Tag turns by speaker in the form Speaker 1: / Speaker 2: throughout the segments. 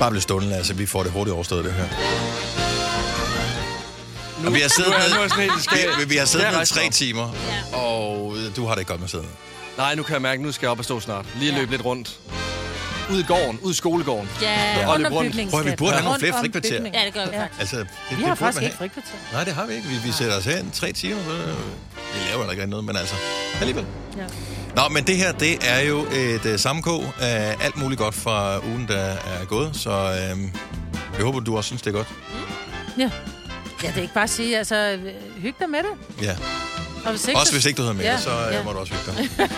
Speaker 1: Bare bliv stående, Lasse. Vi får det hurtigt overstået, det her. Og vi har siddet
Speaker 2: Nu er jeg- nu er jeg sådan
Speaker 1: ned,
Speaker 2: helt i skab.
Speaker 1: vi, vi har siddet
Speaker 2: Jeg
Speaker 1: ned
Speaker 2: rejser
Speaker 1: tre
Speaker 2: op.
Speaker 1: timer, og øh, du har det ikke godt med at sidde ned.
Speaker 2: Nej, nu kan jeg mærke, nu skal jeg op og stå snart. Lige løbe lidt rundt. Ud i gården, ud i skolegården.
Speaker 3: Ja,
Speaker 2: Og
Speaker 3: under
Speaker 2: løb rundt.
Speaker 3: bygningsskat.
Speaker 1: Prøv at vi burde have nogle
Speaker 3: Rundt
Speaker 1: flere
Speaker 3: om
Speaker 1: frikvarterer.
Speaker 3: bygningen. Ja, det gør vi faktisk.
Speaker 1: Altså, det,
Speaker 4: Vi
Speaker 1: det
Speaker 4: har
Speaker 1: burde
Speaker 4: faktisk
Speaker 1: man
Speaker 4: ikke
Speaker 1: have.
Speaker 4: frikvarter.
Speaker 1: Nej, det har vi ikke. Vi, vi sætter os herind tre timer, så øh, vi laver da ikke rigtig noget, men altså, alligevel.
Speaker 4: Ja.
Speaker 1: Nå, men det her, det er jo et øh, sammenkog af alt muligt godt fra ugen, der er gået, så øh, jeg håber, du også synes, det er godt.
Speaker 4: Ja. ja, det er ikke bare at sige, altså, øh, hyg dig med det.
Speaker 1: Ja.
Speaker 4: Og hvis
Speaker 1: Også hvis ikke du hedder Mette,
Speaker 4: Ja,
Speaker 1: så øh,
Speaker 4: ja.
Speaker 1: må du også hygge dig.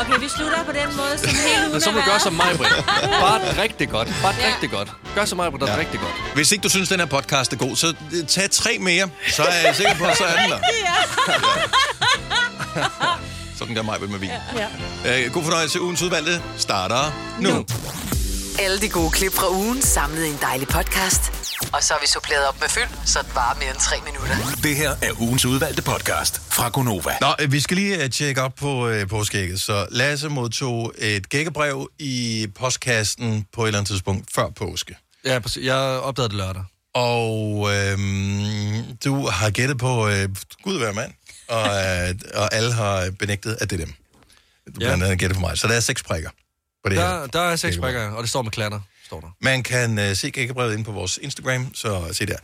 Speaker 3: Okay, vi slutter på den måde, som hele ugen
Speaker 2: Men så må
Speaker 3: er
Speaker 2: du gøre
Speaker 3: været.
Speaker 2: som mig, Britt. Bare drik det godt. Bare drik
Speaker 3: Ja.
Speaker 2: det godt. Gør som mig, Britt, og
Speaker 1: Ja.
Speaker 2: drik det godt.
Speaker 1: Hvis ikke du synes, den her podcast er god, så øh, tag tre mere, så er jeg sikker på, at så er den der. Sådan der mig med vin.
Speaker 4: Ja.
Speaker 1: Øh, god fornøjelse. Ugens udvalgte starter nu. nu.
Speaker 5: Alle de gode klip fra ugen samlet i en dejlig podcast. Og så har vi suppleret op med fyld, så det varer mere end tre minutter.
Speaker 6: Det her er ugens udvalgte podcast fra Gonova.
Speaker 1: Nå, øh, vi skal lige øh, tjekke op på, øh, på skægget. Så Lasse modtog et gækkebrev i postkassen på et eller andet tidspunkt før påske.
Speaker 2: Ja, præcis. Jeg opdagede det lørdag.
Speaker 1: Og øh, du har gættet på øh, Gud være mand, og, øh, og alle har benægtet, at det er dem. Du
Speaker 2: Ja.
Speaker 1: ja. har gættet på mig. Så der er seks prikker på det her.
Speaker 2: Der, der er seks
Speaker 1: Gækkebrev.
Speaker 2: brækker, og det står med klatter. Står der.
Speaker 1: Man kan øh, se gækkebrevet inde på vores Instagram, så se der.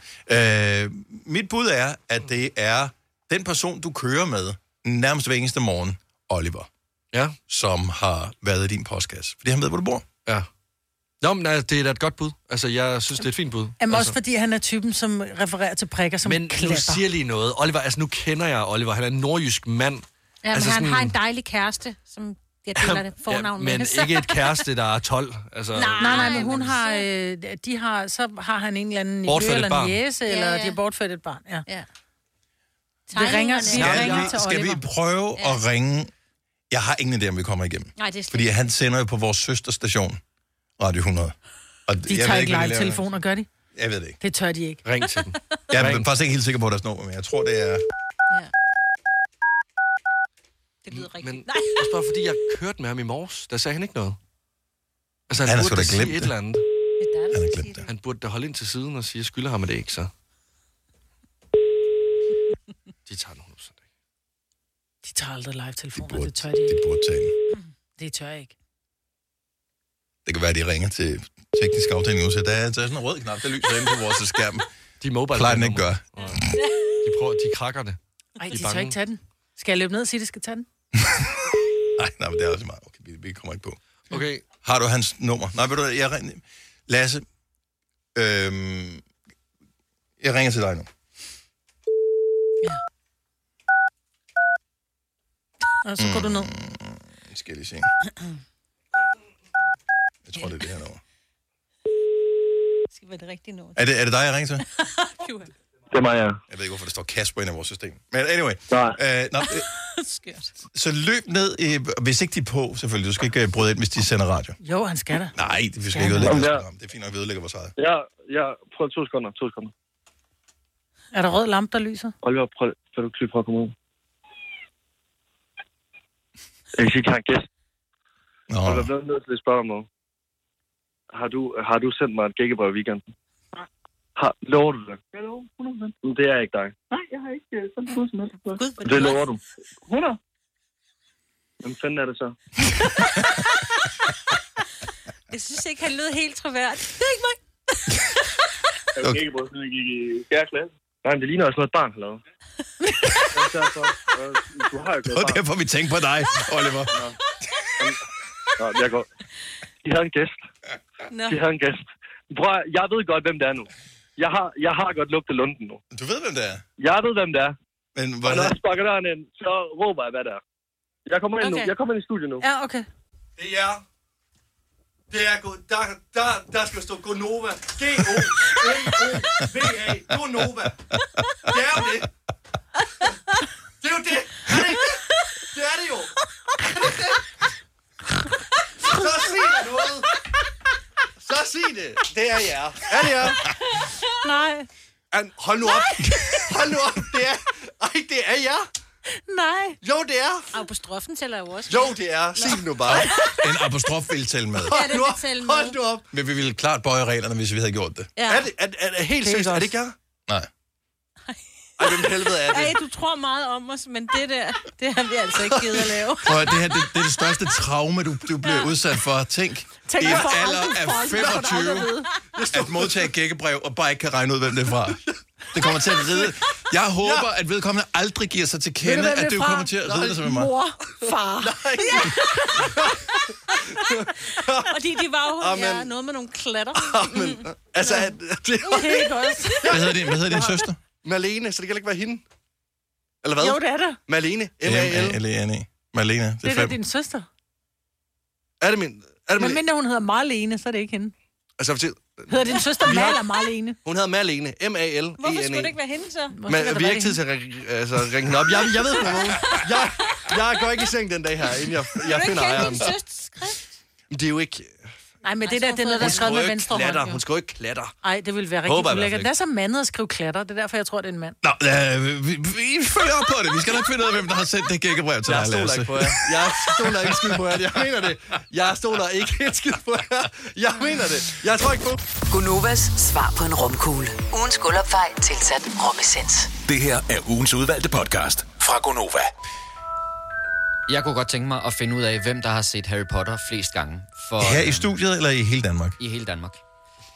Speaker 1: Øh, mit bud er, at det er den person, du kører med nærmest hver eneste morgen, Oliver,
Speaker 2: Ja,
Speaker 1: som har været i din postkasse. Fordi han ved, hvor du bor.
Speaker 2: ja. Nå, men altså, det er da et godt bud. Altså, jeg synes, det er et fint bud.
Speaker 7: Jamen også
Speaker 2: altså.
Speaker 7: fordi han er typen, som refererer til prikker, som
Speaker 2: Men nu
Speaker 7: klatter.
Speaker 2: siger jeg lige noget. Oliver, altså nu kender jeg Oliver. Han er en nordjysk mand.
Speaker 3: Ja, men
Speaker 2: Altså
Speaker 3: altså han
Speaker 2: sådan-
Speaker 3: har en dejlig kæreste, som jeg deler det fornavn
Speaker 2: men
Speaker 3: altså. med.
Speaker 2: ikke et kæreste, der er 12. Altså,
Speaker 7: Nej, nej, men hun
Speaker 3: men
Speaker 7: har,
Speaker 3: så-
Speaker 7: øh, de har, så har han en eller anden nevø
Speaker 2: Bortført et
Speaker 7: eller en
Speaker 2: barn.
Speaker 7: jæse, ja, ja.
Speaker 3: ja.
Speaker 7: eller de har bortført et barn, ja.
Speaker 3: Ja.
Speaker 7: Det ringer-
Speaker 3: Tegningerne-
Speaker 7: vi
Speaker 1: Skal
Speaker 7: ringer
Speaker 1: vi,
Speaker 7: til
Speaker 1: skal vi
Speaker 7: Oliver.
Speaker 1: prøve ja. at ringe? Jeg har ingen idé, om vi kommer igennem.
Speaker 3: Nej, det er slet
Speaker 1: Fordi han sender jo på vores søsterstation, Radio 100. Og
Speaker 7: De
Speaker 1: jeg
Speaker 7: tager
Speaker 1: ved
Speaker 7: ikke
Speaker 1: hvad de
Speaker 7: live-telefoner, gør de?
Speaker 1: laver. Jeg ved det ikke.
Speaker 7: Det tør de ikke.
Speaker 2: Ring til dem.
Speaker 1: Jeg er
Speaker 2: Ring.
Speaker 1: faktisk ikke helt sikker på deres nummer, men jeg tror, det er...
Speaker 3: Ja. Det lyder
Speaker 2: Men
Speaker 3: rigtigt. Nej.
Speaker 2: også bare fordi, jeg kørte med ham i morges, der sagde han ikke noget. Altså, han,
Speaker 1: Han
Speaker 2: han
Speaker 1: har
Speaker 2: burde
Speaker 1: sgu da
Speaker 2: da sige
Speaker 1: glemt
Speaker 2: et
Speaker 1: det.
Speaker 2: eller andet.
Speaker 3: Det er dig, der
Speaker 1: Han har
Speaker 3: skal
Speaker 1: glemt
Speaker 3: sige
Speaker 1: det.
Speaker 2: Han burde da holde ind til siden og sige, jeg skylder ham det ikke, så. De tager den 100%. ikke?
Speaker 7: De tager aldrig live-telefoner,
Speaker 1: burde-
Speaker 7: det tør de
Speaker 1: De
Speaker 7: ikke.
Speaker 1: burde tage den.
Speaker 7: Det tør jeg ikke.
Speaker 1: Det kan være, at de ringer til teknisk afdeling nu, så der er, der er sådan en rød knap, der lyser inde på vores skærm.
Speaker 2: De er mobile.
Speaker 1: Plejer den ikke gøre.
Speaker 2: Nej. De prøver, de krakker det.
Speaker 7: Ej, de,
Speaker 2: er
Speaker 7: de tør
Speaker 2: bange.
Speaker 7: ikke tage den. Skal jeg løbe ned og sige, at de skal tage den?
Speaker 1: Nej, nej, men det er også meget. Okay, vi, vi kommer ikke på.
Speaker 2: Okay,
Speaker 1: Har du hans nummer? Nej, ved du hvad, jeg ringer... Lasse, øhm, jeg ringer til dig nu.
Speaker 7: Og så går du ned.
Speaker 1: Nu skal jeg lige se. Jeg tror, det er det her nummer.
Speaker 3: Det skal være det rigtige nummer.
Speaker 1: Er det, er det dig, jeg ringer til?
Speaker 8: Det er mig, ja.
Speaker 1: Jeg ved ikke, hvorfor der står Kasper inde i vores system. Men anyway.
Speaker 8: Nej.
Speaker 1: Øh, nå, øh,
Speaker 3: Skørt.
Speaker 1: så løb ned, øh, hvis ikke de er på, selvfølgelig. Du skal ikke øh, bryde ind, hvis de sender radio.
Speaker 7: Jo, han skal da.
Speaker 1: Nej, vi skal ikke ødelægge
Speaker 8: Jamen,
Speaker 1: vores
Speaker 8: der-
Speaker 1: program. Det er fint nok, at vi ødelægger vores eget.
Speaker 8: Ja, ja. Prøv to sekunder, to sekunder.
Speaker 7: Er der rød lampe, der lyser?
Speaker 8: Oliver, prøv, vil du klippe for at komme ud? Jeg kan ikke have en gæst.
Speaker 1: Nå,
Speaker 8: Og jeg bliver nødt til at spørge dig om noget. Har du, har du sendt mig et gækkebrev i weekenden? Har, lover du det?
Speaker 9: Jeg lover 100
Speaker 8: Men det er ikke dig.
Speaker 9: Nej, jeg har ikke øh, sådan noget som helst.
Speaker 3: Gud, hvor
Speaker 8: Det lover du.
Speaker 9: 100?
Speaker 8: Hvem fanden er det så?
Speaker 3: Jeg synes ikke, han lød helt troværdigt. Det er ikke mig.
Speaker 9: Jeg
Speaker 1: Okay.
Speaker 9: var ikke siden jeg gik i 4. klasse.
Speaker 8: Nej, men det ligner også noget et barn har lavet. Det er derfor, øh, Du har jo ikke
Speaker 1: det var
Speaker 8: noget barn.
Speaker 1: derfor, vi tænkte på dig, Oliver.
Speaker 8: Nå, jeg går. De havde en gæst.
Speaker 3: Nå.
Speaker 8: De havde en gæst. Prøv, at- jeg ved godt, hvem det er nu. Jeg har, jeg har godt lugtet lunden nu.
Speaker 1: Du ved, hvem det er.
Speaker 8: Jeg ved, hvem det er.
Speaker 1: Men
Speaker 8: Og når
Speaker 1: hvordan...
Speaker 8: jeg sparker døren ind, så råber jeg, hvad det er. Jeg kommer ind
Speaker 3: Okay.
Speaker 8: nu. Jeg kommer ind i studiet nu.
Speaker 7: Ja, okay.
Speaker 2: Det er... Det er god... Der, der, der skal stå Gonova. G-O-N-O-V-A. Gonova. Det er jo det. Det er jo det. Er det, ikke? det er det jo. Er det ikke det? Så sig det noget. Så sig det. Det er jer. Er det jer?
Speaker 7: Nej.
Speaker 2: An, hold nu op. Hold nu op. Det er... Ej, det er jer.
Speaker 7: Nej.
Speaker 8: Jo, det er.
Speaker 3: Apostrofen tæller jo også.
Speaker 8: Jo, det er. Sig det nu bare.
Speaker 1: En apostrof vil tælle med.
Speaker 3: Ja, det
Speaker 8: nu op.
Speaker 3: vil tælle med.
Speaker 8: Hold nu op.
Speaker 1: Men vi ville klart bøje reglerne, hvis vi havde gjort det.
Speaker 3: Ja.
Speaker 8: Er det, er, er, er, helt seriøst, er det ikke jer?
Speaker 1: Nej.
Speaker 8: Ej, hvem helvede er det?
Speaker 3: Ej, du tror meget om os, men det der, det har vi altså ikke givet at lave.
Speaker 1: Prøv at, det her det, det er det største traume, du, du bliver udsat for. Tænk, Tænk i en alder af 25 at modtage et gækkebrev og bare ikke kan regne ud, hvem det er fra. Det kommer til at ride. Jeg håber, at vedkommende aldrig giver sig til
Speaker 10: du,
Speaker 1: kende,
Speaker 10: hvem det
Speaker 1: at
Speaker 10: er
Speaker 1: det
Speaker 10: fra?
Speaker 1: kommer til at ride sig med mig.
Speaker 10: Mor, far.
Speaker 8: Nej.
Speaker 3: Fordi de var jo
Speaker 8: Amen.
Speaker 3: ja, noget med nogle klatter. Mm.
Speaker 8: Men, altså, er det, det er
Speaker 10: Det er ikke også.
Speaker 1: Hvad hedder din, hvad hedder din søster?
Speaker 8: Malene, så det kan ikke være hende. Eller hvad?
Speaker 10: Jo, det er det.
Speaker 8: Malene, M-A-L.
Speaker 1: M-A-L-E-N-E. E Malene,
Speaker 7: Det
Speaker 1: det
Speaker 7: er
Speaker 1: er
Speaker 7: da
Speaker 1: fem.
Speaker 7: din søster.
Speaker 8: Er det min? Er det
Speaker 7: Men
Speaker 8: Malene?
Speaker 7: mindre hun hedder Marlene, så er det ikke hende.
Speaker 8: Altså, fortæl-
Speaker 7: Hedder din søster Mal eller Marlene?
Speaker 8: hun hedder Malene, M-A-l e
Speaker 3: Hvorfor skulle
Speaker 8: n
Speaker 3: det
Speaker 8: e
Speaker 3: ikke være hende så?
Speaker 7: Måske kan
Speaker 8: Men
Speaker 7: det
Speaker 8: vi har ikke
Speaker 7: være det
Speaker 8: tid til at ringe, altså, ringe den op. Jeg, jeg ved ikke, nogen. Jeg, jeg går ikke i seng den dag her, inden jeg, jeg
Speaker 3: Kan
Speaker 8: finder
Speaker 3: du ikke kende
Speaker 8: ejeren.
Speaker 3: din søsters skrift?
Speaker 8: Men Det er jo ikke...
Speaker 7: hende. Nej, men det der, det er noget, der
Speaker 8: Hun
Speaker 7: er skrevet
Speaker 8: skriver
Speaker 7: med
Speaker 8: jo ikke
Speaker 7: venstre hånd.
Speaker 8: klatter.
Speaker 7: jo.
Speaker 8: Hun skal jo ikke klatter.
Speaker 7: Ej, det ville være
Speaker 1: Håber jeg i
Speaker 7: rigtig
Speaker 1: hvert fald
Speaker 7: ulækkert. Det er så mandet at skrive klatter. Det er derfor, jeg tror, det er en mand.
Speaker 1: Nå, øh, vi, vi følger op på det. Vi skal nok finde ud af, hvem der har sendt det gækkebrev til
Speaker 8: Jeg
Speaker 1: dig,
Speaker 8: stoler ikke på jer. Jeg stoler ikke skid på jer. Jeg mener det. Jeg stoler ikke et skid på jer. Jeg mener det. Jeg tror ikke på...
Speaker 5: Gunovas svar på en rumkugle. Ugens guldopfej tilsat romessens.
Speaker 11: Det her er ugens udvalgte podcast fra Gonova.
Speaker 12: Jeg kunne godt tænke mig at finde ud af, hvem der har set Harry Potter flest gange. For,
Speaker 1: Her i
Speaker 12: øhm,
Speaker 1: studiet eller i hele Danmark?
Speaker 12: i hele Danmark.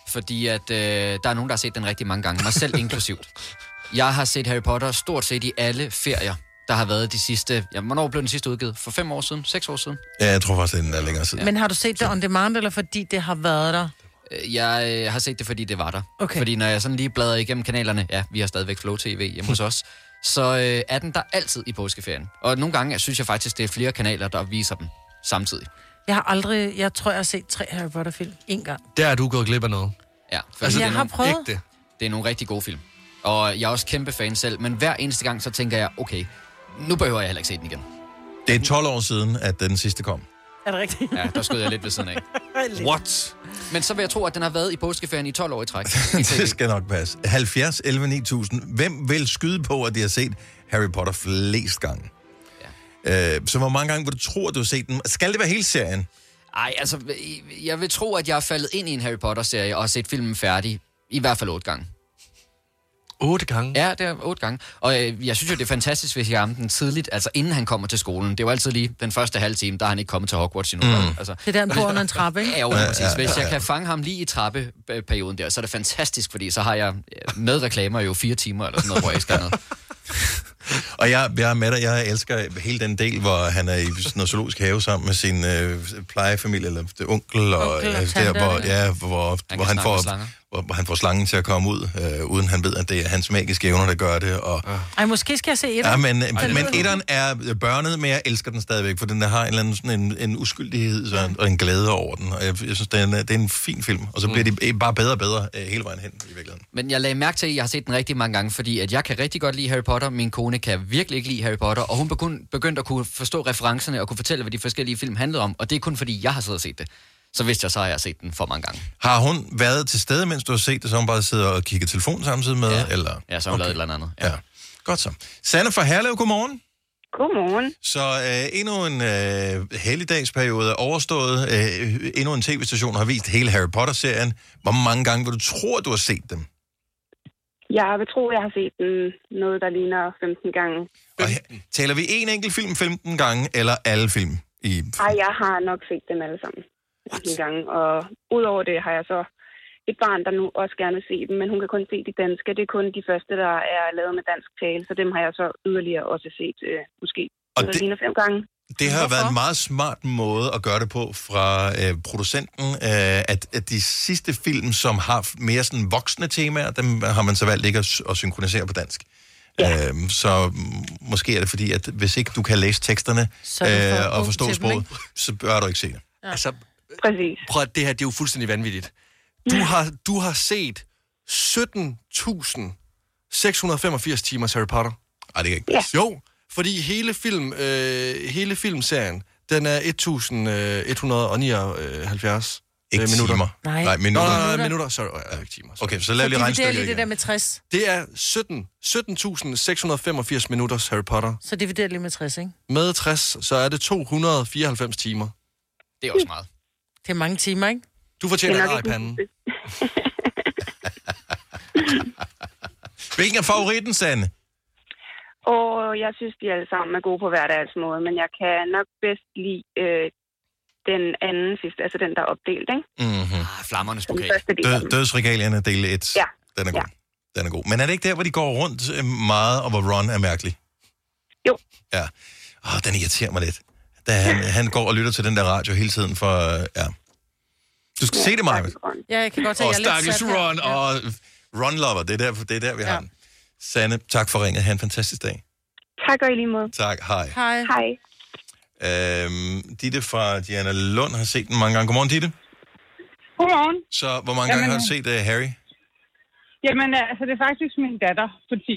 Speaker 12: Fordi at øh, der er nogen, der har set den rigtig mange gange, mig selv inklusivt. Jeg har set Harry Potter stort set i alle ferier, der har været de sidste... Ja, hvornår blev den sidste udgivet? For fem år siden? Seks år siden?
Speaker 1: Ja, jeg tror faktisk, det er den der længere siden.
Speaker 7: Men har du set det on demand, eller fordi det har været der?
Speaker 12: Øh, Jeg øh, har set det, fordi det var der.
Speaker 7: Okay.
Speaker 12: Fordi når jeg sådan lige bladrer igennem kanalerne, ja, vi har stadigvæk Flow TV hjemme hos os, så øh, er den der altid i påskeferien. Og nogle gange synes jeg faktisk, det er flere kanaler, der viser dem samtidig.
Speaker 7: Jeg har aldrig... Jeg tror, jeg har set tre Harry Potter-film. En gang.
Speaker 8: Der er du gået glip af noget.
Speaker 12: Ja, fordi
Speaker 7: Altså,
Speaker 12: det er
Speaker 7: jeg har
Speaker 12: nogle,
Speaker 7: prøvet...
Speaker 8: Ægte.
Speaker 12: Det er nogle rigtig gode film. Og jeg er også kæmpe fan selv, men hver eneste gang, så tænker jeg, okay, nu behøver jeg heller ikke se den igen.
Speaker 1: Det er 12 år siden, at den sidste kom.
Speaker 7: Er det rigtigt?
Speaker 12: Ja, der skød jeg lidt ved siden af.
Speaker 8: What?
Speaker 12: Men så vil jeg tro, at den har været i påskeferien i 12 år i træk.
Speaker 1: det skal nok passe. 70, 11, 9000. Hvem vil skyde på, at de har set Harry Potter flest gange? Ja. Øh, så hvor mange gange vil du tro, at du har set den? Skal det være hele serien?
Speaker 12: Ej, altså, jeg vil tro, at jeg er faldet ind i en Harry Potter-serie og har set filmen færdig. I hvert fald otte gange.
Speaker 8: Otte gange.
Speaker 12: Ja, det er otte gange. Og øh, jeg synes jo, det er fantastisk, hvis jeg rammer den tidligt, altså inden han kommer til skolen. Det er jo altid lige den første halve time, der er han ikke kommet til Hogwarts endnu. Mm. Altså,
Speaker 7: Det er der, han bor under en trappe, ikke?
Speaker 12: Ja, jo, præcis. Hvis jeg kan fange ham lige i trappeperioden der, så er det fantastisk, fordi så har jeg øh, med reklamer jo fire timer eller sådan noget, hvor jeg skal noget.
Speaker 1: Og jeg, jeg er med dig, jeg elsker hele den del, hvor han er i sådan noget zoologisk have sammen med sin øh, plejefamilie, eller det, onkel, og,
Speaker 7: Onkel og
Speaker 1: altså, der,
Speaker 7: tante,
Speaker 1: hvor,
Speaker 7: eller-
Speaker 1: ja, hvor,
Speaker 12: kan
Speaker 1: hvor,
Speaker 12: snakke
Speaker 1: han
Speaker 12: med
Speaker 1: får,
Speaker 12: slanger.
Speaker 1: hvor, hvor han får slangen til at komme ud, øh, uden han ved, at det er hans magiske evner, der gør det. Og,
Speaker 7: Ej, måske skal jeg se et.
Speaker 1: Ja,
Speaker 7: Ja,
Speaker 1: men, men etteren er øh, børnet, men jeg elsker den stadigvæk, for den har en, eller anden, sådan en, en uskyldighed så, en- og en glæde over den. Og jeg, jeg synes, den er, det er en fin film, og så bliver mm. de bare bedre og bedre øh, hele vejen hen i virkeligheden.
Speaker 12: Men jeg lagde mærke til, at jeg har set den rigtig mange gange, fordi at jeg kan rigtig godt lide Harry Potter, min kone kan virkelig ikke lide Harry Potter, og hun begynd- begyndte at kunne forstå referencerne og kunne fortælle, hvad de forskellige film handlede om, og det er kun fordi, jeg har siddet og set det. Så vidste jeg så, at jeg har set den for mange gange.
Speaker 1: Har hun været til stede, mens du har set det, så hun bare sidder og kigger telefon samtidig med? Ja, eller?
Speaker 12: Ja, så har hun okay. lavet et eller andet.
Speaker 1: Ja. Godt så. Sanne fra Herlev, godmorgen.
Speaker 13: Godmorgen.
Speaker 1: Så øh, endnu en øh, helligdagsperiode er overstået. Øh, endnu en tv-station har vist hele Harry Potter-serien. Hvor mange gange vil du tro, at du har set dem?
Speaker 13: Jeg vil tro, jeg har set den noget, der ligner 15 gange.
Speaker 1: Og her, taler vi en enkelt film 15 gange, eller alle film? I...
Speaker 13: Ej, jeg har nok set dem alle sammen. 15 gange. Og udover det har jeg så et barn, der nu også gerne vil se dem, men hun kan kun se de danske. Det er kun de første, der er lavet med dansk tale, så dem har jeg så yderligere også set, øh, måske
Speaker 1: Og
Speaker 13: noget, der
Speaker 1: det-
Speaker 13: ligner fem gange.
Speaker 1: Det har været en meget smart måde at gøre det på fra øh, producenten, øh, at, at de sidste film, som har f- mere sådan voksne temaer, dem har man så valgt ikke at, s- at synkronisere på dansk. Ja. Øhm, så mm, måske er det fordi, at hvis ikke du kan læse teksterne
Speaker 7: Så er du for
Speaker 1: øh, og
Speaker 7: ung
Speaker 1: forstå
Speaker 7: til dem,
Speaker 1: sproget, så bør du ikke se det.
Speaker 8: Altså,
Speaker 13: Præcis.
Speaker 8: prøv at det her, det er jo fuldstændig vanvittigt. Du har, du har set 17.685 timers Harry Potter.
Speaker 1: Ej, det kan ikke
Speaker 13: Ja.
Speaker 1: passe.
Speaker 8: Jo, fordi hele, film, øh, hele filmserien, den er 1179
Speaker 1: Ikke
Speaker 2: Øh,
Speaker 1: timer.
Speaker 7: Nej.
Speaker 1: Nej,
Speaker 2: Nå,
Speaker 1: minutter.
Speaker 2: nej, nej, nej, minutter. Sorry, øh, ikke timer.
Speaker 1: Okay, så lav lige
Speaker 7: Fordi det er lige
Speaker 1: regnstykket
Speaker 7: det
Speaker 1: igen.
Speaker 7: der med 60.
Speaker 2: Det er 17 17.685 minutters Harry Potter.
Speaker 7: Så dividerer lige med 60, ikke?
Speaker 2: Med 60, så er det 294 timer.
Speaker 12: Det er også meget.
Speaker 7: Det er mange timer, ikke?
Speaker 2: Du fortjener en ar i panden.
Speaker 1: Hvilken er favoritten, Sande?
Speaker 13: Og jeg synes, de alle sammen er gode på hverdagsmåde, men jeg kan nok bedst lide øh, den anden sidste, altså den, der er opdelt, ikke?
Speaker 1: Mm-hmm.
Speaker 12: Ah, flammernes pokal.
Speaker 13: første del.
Speaker 1: Død, dødsregalierne, del 1.
Speaker 13: Ja.
Speaker 1: Den er god. Den er god. Men er det ikke der, hvor de går rundt øh, meget, og hvor Ron er mærkelig?
Speaker 13: Jo.
Speaker 1: Ja. Åh, den irriterer mig lidt. Da han, han går og lytter til den der radio hele tiden for... øh, Ja. Du skal se det, Maja.
Speaker 7: Ja, jeg kan godt se,
Speaker 1: Og
Speaker 7: jeg er lidt
Speaker 1: stakkels
Speaker 7: sat her.
Speaker 1: Ron, og Ron lover. Det er der, det er der vi har den. Sanne, tak for ringet. Ha' en fantastisk dag.
Speaker 13: Tak og i lige måde.
Speaker 1: Tak. Hej.
Speaker 7: Hej.
Speaker 13: Hej.
Speaker 1: Øhm, Ditte fra Diana Lund har set den mange gange. Godmorgen, Ditte.
Speaker 14: Godmorgen.
Speaker 1: Så hvor mange gange
Speaker 14: Jamen,
Speaker 1: har du set uh, Harry?
Speaker 14: Jamen, altså, det er faktisk min datter på 10,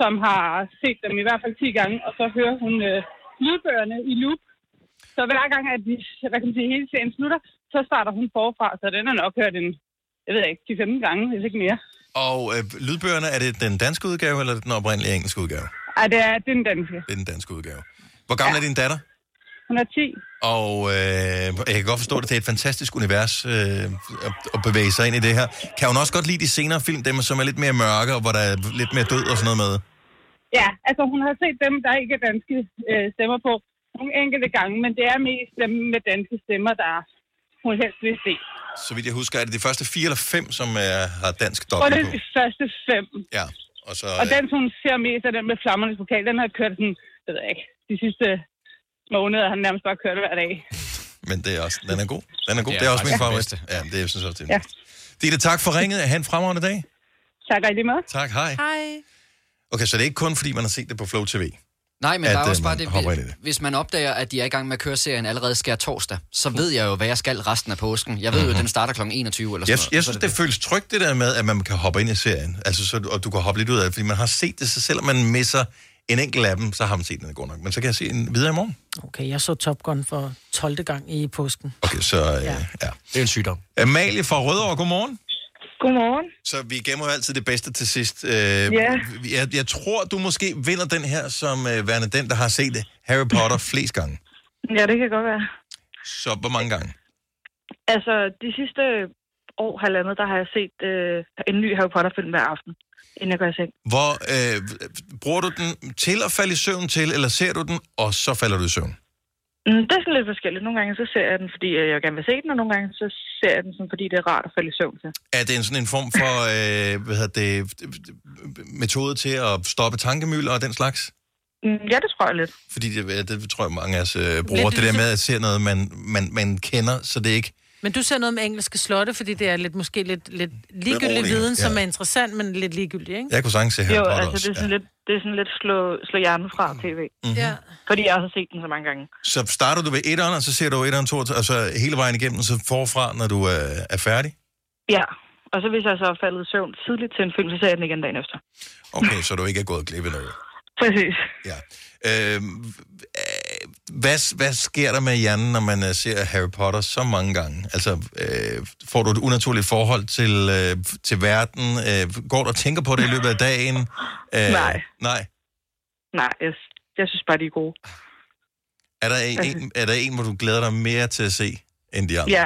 Speaker 14: som har set dem i hvert fald 10 gange, og så hører hun øh, lydbøgerne i loop. Så hver gang, at de, hvad kan man sige, hele serien slutter, så starter hun forfra, så den har nok hørt en, jeg ved ikke, 10-15 gange, hvis ikke mere.
Speaker 1: Og øh, lydbøgerne, er det den danske udgave, eller er det den oprindelige engelske udgave?
Speaker 14: Ej, det er, det er den danske.
Speaker 1: Det er den danske udgave. Hvor gammel ja. er din datter?
Speaker 14: Hun er 10.
Speaker 1: Og øh, jeg kan godt forstå, at det er et fantastisk univers øh, at, at bevæge sig ind i det her. Kan hun også godt lide de senere film, dem som er lidt mere mørke, og hvor der er lidt mere død og sådan noget med?
Speaker 14: Ja, altså hun har set dem, der ikke er danske øh, stemmer på nogle enkelte gange, men det er mest dem med danske stemmer, der hun helst vil se.
Speaker 1: Så vidt jeg husker, er det de første fire eller fem, som øh, har dansk
Speaker 14: Og det
Speaker 1: dobbelt
Speaker 14: er
Speaker 1: på.
Speaker 14: de første fem.
Speaker 1: Ja, og så...
Speaker 14: Og
Speaker 1: øh,
Speaker 14: den, hun ser mest, er den med flammernes pokal. Den har jeg kørt sådan, det ved jeg ikke, de sidste måneder har den nærmest bare kørt hver dag.
Speaker 1: øh, Men det er også, den er god. Den er god.
Speaker 12: Det er
Speaker 1: Det er, også min
Speaker 12: faktisk den
Speaker 1: favorit.
Speaker 12: bedste.
Speaker 1: Ja, det er, synes jeg også, det er.
Speaker 14: Ja.
Speaker 1: Ja. Ditte, tak for ringet. Ha' en fremragende dag.
Speaker 14: Tak og i lige måde.
Speaker 1: Tak, hej.
Speaker 7: Hej.
Speaker 1: Okay, så det er ikke kun, fordi man har set det på Flow TV.
Speaker 12: Nej, men
Speaker 1: at,
Speaker 12: der er
Speaker 1: øh,
Speaker 12: også bare
Speaker 1: man hopper ind i
Speaker 12: det,
Speaker 1: det.
Speaker 12: hvis man opdager, at de er i gang med at køre serien allerede skær torsdag, så ved jeg jo, hvad jeg skal resten af påsken. Jeg ved
Speaker 1: Mhm.
Speaker 12: jo, at den starter kl. 21 eller sådan
Speaker 1: Jeg,
Speaker 12: noget.
Speaker 1: jeg synes, det føles trygt, det der med, at man kan hoppe ind i serien. Altså, så, og du kan hoppe lidt ud af det, fordi man har set det, så selvom man misser en enkelt af dem, så har man set den er god nok. Men så kan jeg se den videre i morgen.
Speaker 7: Okay, jeg så Top Gun for 12. gang i påsken.
Speaker 1: Okay, så øh, ja. ja.
Speaker 2: Det er en sygdom.
Speaker 1: Amalie fra Rødovre, godmorgen.
Speaker 14: Godmorgen.
Speaker 1: Så vi gemmer jo altid det bedste til sidst. Øh, jeg, jeg tror, du måske vinder den her som øh, værende den, der har set Harry Potter flest gange.
Speaker 14: Ja, det kan godt være.
Speaker 1: Så hvor mange gange?
Speaker 15: Altså, de sidste år, halvandet, der har jeg set øh, en ny Harry Potter-film hver aften, inden jeg går i seng.
Speaker 1: Hvor øh, bruger du den til at falde i søvn til, eller ser du den, og så falder du i søvn?
Speaker 15: Mm, Det er sådan lidt forskelligt. Nogle gange så ser jeg den, fordi øh, jeg gerne vil se den, og nogle gange så ser jeg den, sådan, fordi det er rart at falde i søvn til.
Speaker 1: Er det en sådan en form for øh, hvad hedder det, metode til at stoppe tankemøller og den slags?
Speaker 15: Mm, Ja, det tror jeg lidt.
Speaker 1: Fordi det, ja, det tror jeg, mange af os øh, bruger. Det der
Speaker 7: ligesom-
Speaker 1: med at se noget, man, man, man kender, så det ikke...
Speaker 7: Men du ser noget med engelske slotte, fordi det er lidt, måske lidt, lidt ligegyldig
Speaker 1: Beroligende,
Speaker 7: viden,
Speaker 1: ja.
Speaker 7: ja. som er interessant, men lidt ligegyldig, ikke?
Speaker 1: Jeg kunne sagtens se Harry
Speaker 15: jo,
Speaker 1: Potter
Speaker 15: altså, det er
Speaker 1: også.
Speaker 15: sådan
Speaker 1: Ja.
Speaker 15: lidt, det er sådan lidt slå, slå hjernen fra tv.
Speaker 1: Mhm. Ja.
Speaker 15: Fordi jeg også har set den så mange gange.
Speaker 1: Så starter du ved etteren, og så ser du etteren, to, og så hele vejen igennem, så forfra, når du øh, er færdig?
Speaker 15: Ja, og så hvis jeg så er faldet i søvn tidligt til en film, så ser jeg den igen dagen efter.
Speaker 1: Okay, så du ikke er gået glip af noget.
Speaker 15: Præcis.
Speaker 1: Øh, hvad, hvad sker der med hjernen, når man øh, ser Harry Potter så mange gange? Altså, øh, får du et unaturligt forhold til, øh, til verden? Øh, går du og tænker på det i løbet af dagen? Øh,
Speaker 15: Nej.
Speaker 1: Nej.
Speaker 15: Nej, jeg, jeg synes bare, de er gode. Altså-
Speaker 1: Er der, en, en, er der en, hvor du glæder dig mere til at se, end de andre?
Speaker 15: Ja,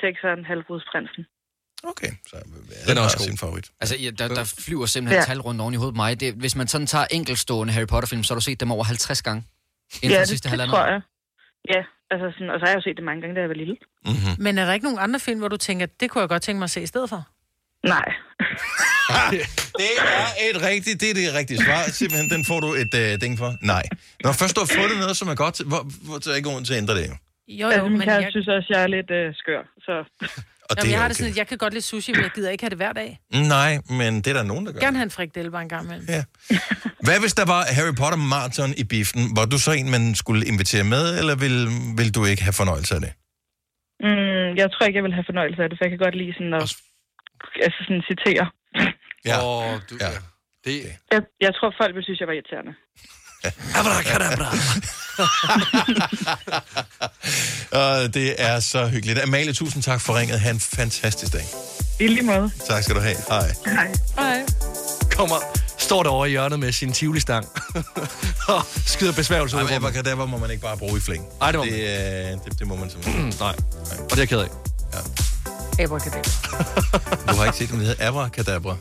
Speaker 15: sekseren, halvbrudsprinsen.
Speaker 1: Okay. Så,
Speaker 2: Den er også
Speaker 1: sin
Speaker 2: god.
Speaker 1: favorit.
Speaker 12: Altså, ja, der, der flyver simpelthen
Speaker 15: Ja.
Speaker 12: ja. tal rundt oven i hovedet på mig. Det, hvis man sådan tager enkeltstående Harry Potter-film, så har du set dem over 50 gange inden
Speaker 15: ja,
Speaker 12: for de
Speaker 15: det,
Speaker 12: sidste
Speaker 15: det
Speaker 12: halvandet
Speaker 15: tror
Speaker 12: år.
Speaker 15: jeg. Ja, altså sådan, og så har jeg jo set det mange gange, da jeg var lille.
Speaker 1: Mm-hmm.
Speaker 7: Men er der ikke nogen andre film, hvor du tænker, det kunne jeg godt tænke mig at se i stedet for?
Speaker 15: Nej.
Speaker 1: det er et rigtigt, det er det rigtige svar. Simpelthen, den får du et øh, ding for. Nej. Når først du har fundet noget, som er godt, hvor, hvor så er jeg ikke grund til at ændre det? jo.
Speaker 7: Jo,
Speaker 15: altså, min
Speaker 7: men
Speaker 15: kæreste
Speaker 7: jeg-
Speaker 15: synes også, jeg er lidt øh, skør, så...
Speaker 1: Og
Speaker 7: Jamen,
Speaker 1: det
Speaker 7: jeg
Speaker 1: er
Speaker 7: har
Speaker 1: okay.
Speaker 7: det sådan, at jeg kan godt lide sushi, men jeg gider ikke have det hver dag.
Speaker 1: Nej, men det er der nogen, der gør.
Speaker 7: Gerne have en frikdel bare en gang imellem.
Speaker 1: Ja. Hvad hvis der var Harry Potter Marathon i biffen? Var du så en, man skulle invitere med, eller vil, vil du ikke have fornøjelse af det?
Speaker 15: Mm, jeg tror ikke, jeg vil have fornøjelse af det, for jeg kan godt lide sådan at altså sådan, citere.
Speaker 1: Ja.
Speaker 2: Og du, ja. Det,
Speaker 15: Jeg, jeg tror, folk vil synes, jeg var irriterende.
Speaker 1: Åh, Og det er så hyggeligt. Amalie, tusind tak for ringet. Ha' en fantastisk dag.
Speaker 15: I lige måde.
Speaker 1: Tak skal du have. Hej.
Speaker 15: Hej.
Speaker 3: Hej.
Speaker 2: Kommer, står derovre i hjørnet med sin tivoli-stang. og skyder besværgelse ud.
Speaker 1: Ej, men Abacadabra må man ikke bare bruge i flæng.
Speaker 2: Ej, det må Mm,
Speaker 1: det, man. Det, det må man simpelthen.
Speaker 2: Nej. Og det er jeg ked af.
Speaker 7: Abracadabra.
Speaker 1: Du har ikke set, om det hedder Abracadabra. Det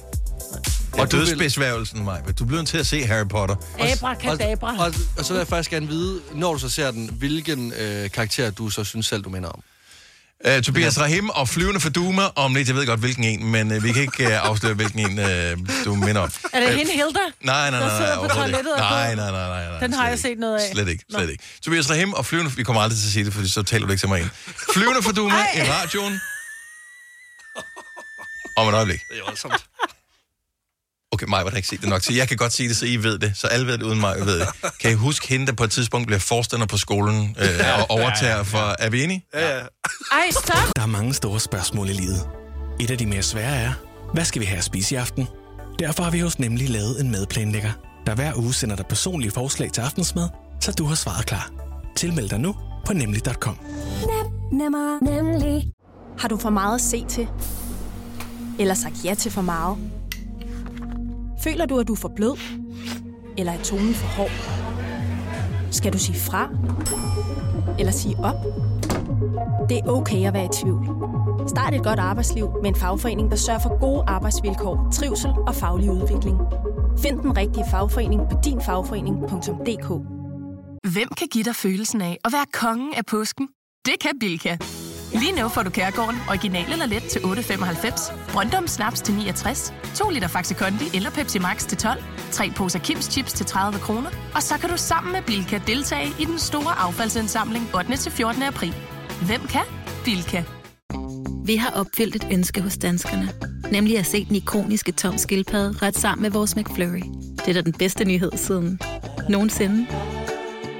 Speaker 1: er
Speaker 2: Og du vil-
Speaker 1: dødsbesværgelsen, Maja. Du bliver nødt til at se Harry Potter.
Speaker 7: Abracadabra.
Speaker 2: Og, og, og, og så vil jeg faktisk gerne vide, når du så ser den, hvilken øh, karakter du så synes selv, du minder om.
Speaker 1: Uh, Tobias Rahim og Flyvende for Duma om lidt. Jeg ved godt, hvilken en, men uh, vi kan ikke uh, afsløre, hvilken en uh, du minder om.
Speaker 7: Er det
Speaker 1: Øh,
Speaker 7: hende Hilda?
Speaker 1: Nej, nej, nej.
Speaker 7: Der
Speaker 1: nej,
Speaker 7: sidder på
Speaker 1: overhovedet ikke.
Speaker 7: toilettet og
Speaker 1: Nej,
Speaker 7: går?
Speaker 1: nej, nej, nej, nej.
Speaker 7: Den har jeg set noget af.
Speaker 1: Slet ikke, slet
Speaker 7: Nå.
Speaker 1: ikke. Tobias Rahim og Flyvende... Vi kommer aldrig til at sige det, fordi så taler du ikke til mig ind. Flyvende for Duma i radioen. Om et øjeblik.
Speaker 2: Det er voldsomt.
Speaker 1: Okay, mig var der ikke set det nok til. Jeg kan godt sige det, så I ved det. Så alle ved det, uden mig ved det. Kan I huske hende, der på et tidspunkt bliver forstander på skolen øh, og overtager for... Er vi enige?
Speaker 2: Ja, ja.
Speaker 7: Ej, stop!
Speaker 11: Der er mange store spørgsmål i livet. Et af de mere svære er, hvad skal vi have at spise i aften? Derfor har vi hos Nemlig lavet en madplanlægger, der hver uge sender dig personlige forslag til aftensmad, så du har svaret klar. Tilmeld dig nu på nemlig.com.
Speaker 16: Nem, nemmer, nemlig. Har du for meget at se til? Eller sagt ja til for meget? Føler du, at du er for blød? Eller er tonen for hård? Skal du sige fra? Eller sige op? Det er okay at være i tvivl. Start et godt arbejdsliv med en fagforening, der sørger for gode arbejdsvilkår, trivsel og faglig udvikling. Find den rigtige fagforening på dinfagforening.dk.
Speaker 17: Hvem kan give dig følelsen af at være kongen af påsken? Det kan Bilka! Lige nu får du Kærgården original eller let til 8.95, Brøndum Snaps til 69, 2 liter Faxi Kondi eller Pepsi Max til 12, 3 poser Kims Chips til 30 kroner, og så kan du sammen med Bilka deltage i den store affaldsindsamling 8. til 14. april. Hvem kan? Bilka.
Speaker 18: Vi har opfyldt et ønske hos danskerne. Nemlig at se den ikoniske tom skildpadde ret sammen med vores McFlurry. Det er da den bedste nyhed siden nogensinde.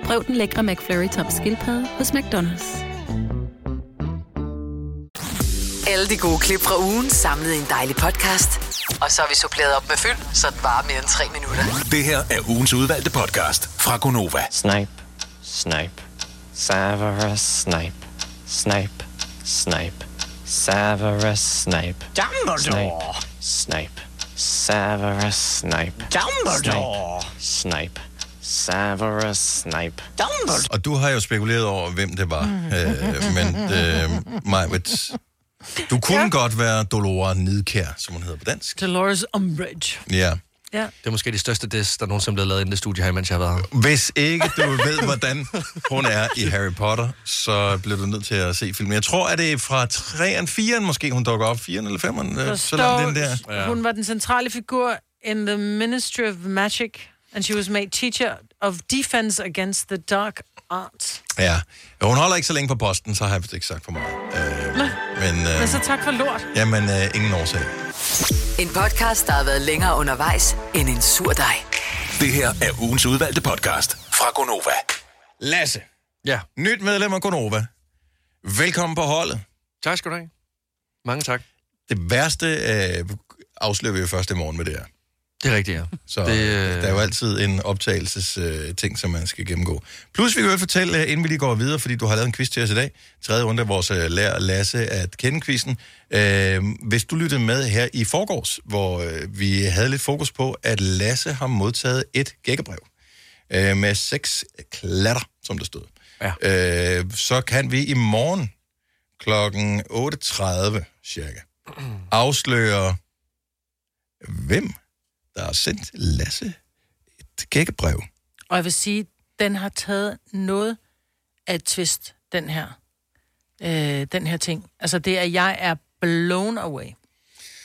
Speaker 18: Prøv den lækre McFlurry tom skildpadde hos McDonald's.
Speaker 5: Alle de gode klip fra ugen samlet i en dejlig podcast. Og så har vi suppleret op med fyld, så det varer mere end tre minutter.
Speaker 11: Det her er ugens udvalgte podcast fra Gonova.
Speaker 19: Snipe, snipe, Severus Snipe, snipe, snipe, Severus Snipe.
Speaker 20: Dumbledore.
Speaker 19: Snipe, snipe, Severus Snipe.
Speaker 20: Dumbledore.
Speaker 19: Snipe, snipe, Severus Snipe.
Speaker 1: Og du har jo spekuleret over, hvem det var. Øh, men øh, Majbet, du kunne ja. godt være Dolora Nidkær, som hun hedder på dansk.
Speaker 7: Dolores Umbridge.
Speaker 1: Ja.
Speaker 7: Ja.
Speaker 2: Det er måske de største des, der nogensinde er blevet lavet i det studie her, mens jeg har været her.
Speaker 1: Hvis ikke du ved, hvordan hun er i Harry Potter, så bliver du nødt til at se filmen. Jeg tror, at det er fra 3'eren, 4'eren måske, hun dukker op. 4'eren eller 5'eren,
Speaker 7: Der
Speaker 1: øh, så langt den der.
Speaker 7: står, hun var den centrale figur in the Ministry of Magic, and she was made teacher of defense against the dark arts.
Speaker 1: Ja. ja. Hun holder ikke så længe på posten, så har jeg vist ikke sagt for meget.
Speaker 7: Nå,
Speaker 1: Men,
Speaker 7: men
Speaker 1: øh,
Speaker 7: så tak for lort.
Speaker 1: jamen, øh, ingen årsag.
Speaker 5: En podcast, der har været længere undervejs end en sur dej.
Speaker 11: Det her er ugens udvalgte podcast fra Gonova.
Speaker 1: Lasse. Ja. Nyt medlem af Gonova. Velkommen på holdet.
Speaker 2: Tak skal du have. Mange tak.
Speaker 1: Det værste øh, afslører vi jo først i morgen med det her.
Speaker 2: Det er rigtigt, ja.
Speaker 1: Så det, øh... der er jo altid en optagelses øh, ting, som man skal gennemgå. Plus vi kan jo fortælle, øh, inden vi lige går videre, fordi du har lavet en quiz til os i dag. Tredje runde af vores øh, lærer Lasse at kende quizzen. Øh, hvis du lyttede med her i forgårs, hvor øh, vi havde lidt fokus på, at Lasse har modtaget et gækkebrev øh, med seks klatter, som der stod. Ja. Øh, så kan vi i morgen klokken 8.30 cirka afsløre, hvem der har sendt Lasse et gækkebrev.
Speaker 7: Og jeg vil sige, den har taget noget af et twist, den her, øh, den her ting. Altså det er, jeg er blown away.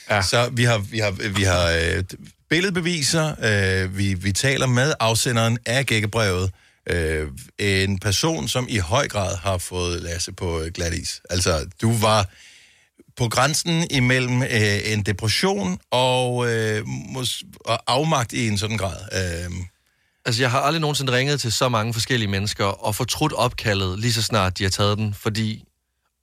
Speaker 1: Ja. Så vi har, vi har, vi har øh, billedbeviser, øh, vi, vi taler med afsenderen af gækkebrevet, øh, en person, som i høj grad har fået Lasse på øh, glat is. Altså, du var på grænsen imellem øh, en depression og, øh, mås- og afmagt i en sådan grad. Øh,
Speaker 2: Altså, jeg har aldrig nogensinde ringet til så mange forskellige mennesker og fortrudt opkaldet lige så snart de har taget den, fordi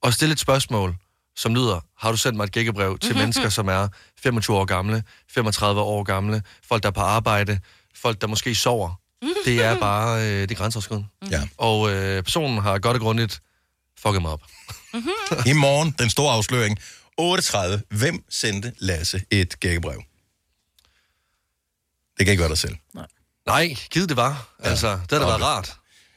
Speaker 2: at stille et spørgsmål, som lyder, har du sendt mig et gækkebrev til mennesker, som er 25 år gamle, 35 år gamle, folk, der er på arbejde, folk, der måske Mm-hmm. sover. Det er bare øh, det er grænseoverskridende.
Speaker 1: Ja.
Speaker 2: Og øh, personen har godt og grundigt Fuck ham op.
Speaker 1: Mm-hmm. I morgen, den store afsløring. 8.30. Hvem sendte Lasse et gækkebrev? Det kan ikke være dig selv.
Speaker 2: Nej, givet det var. Altså, det havde da været rart.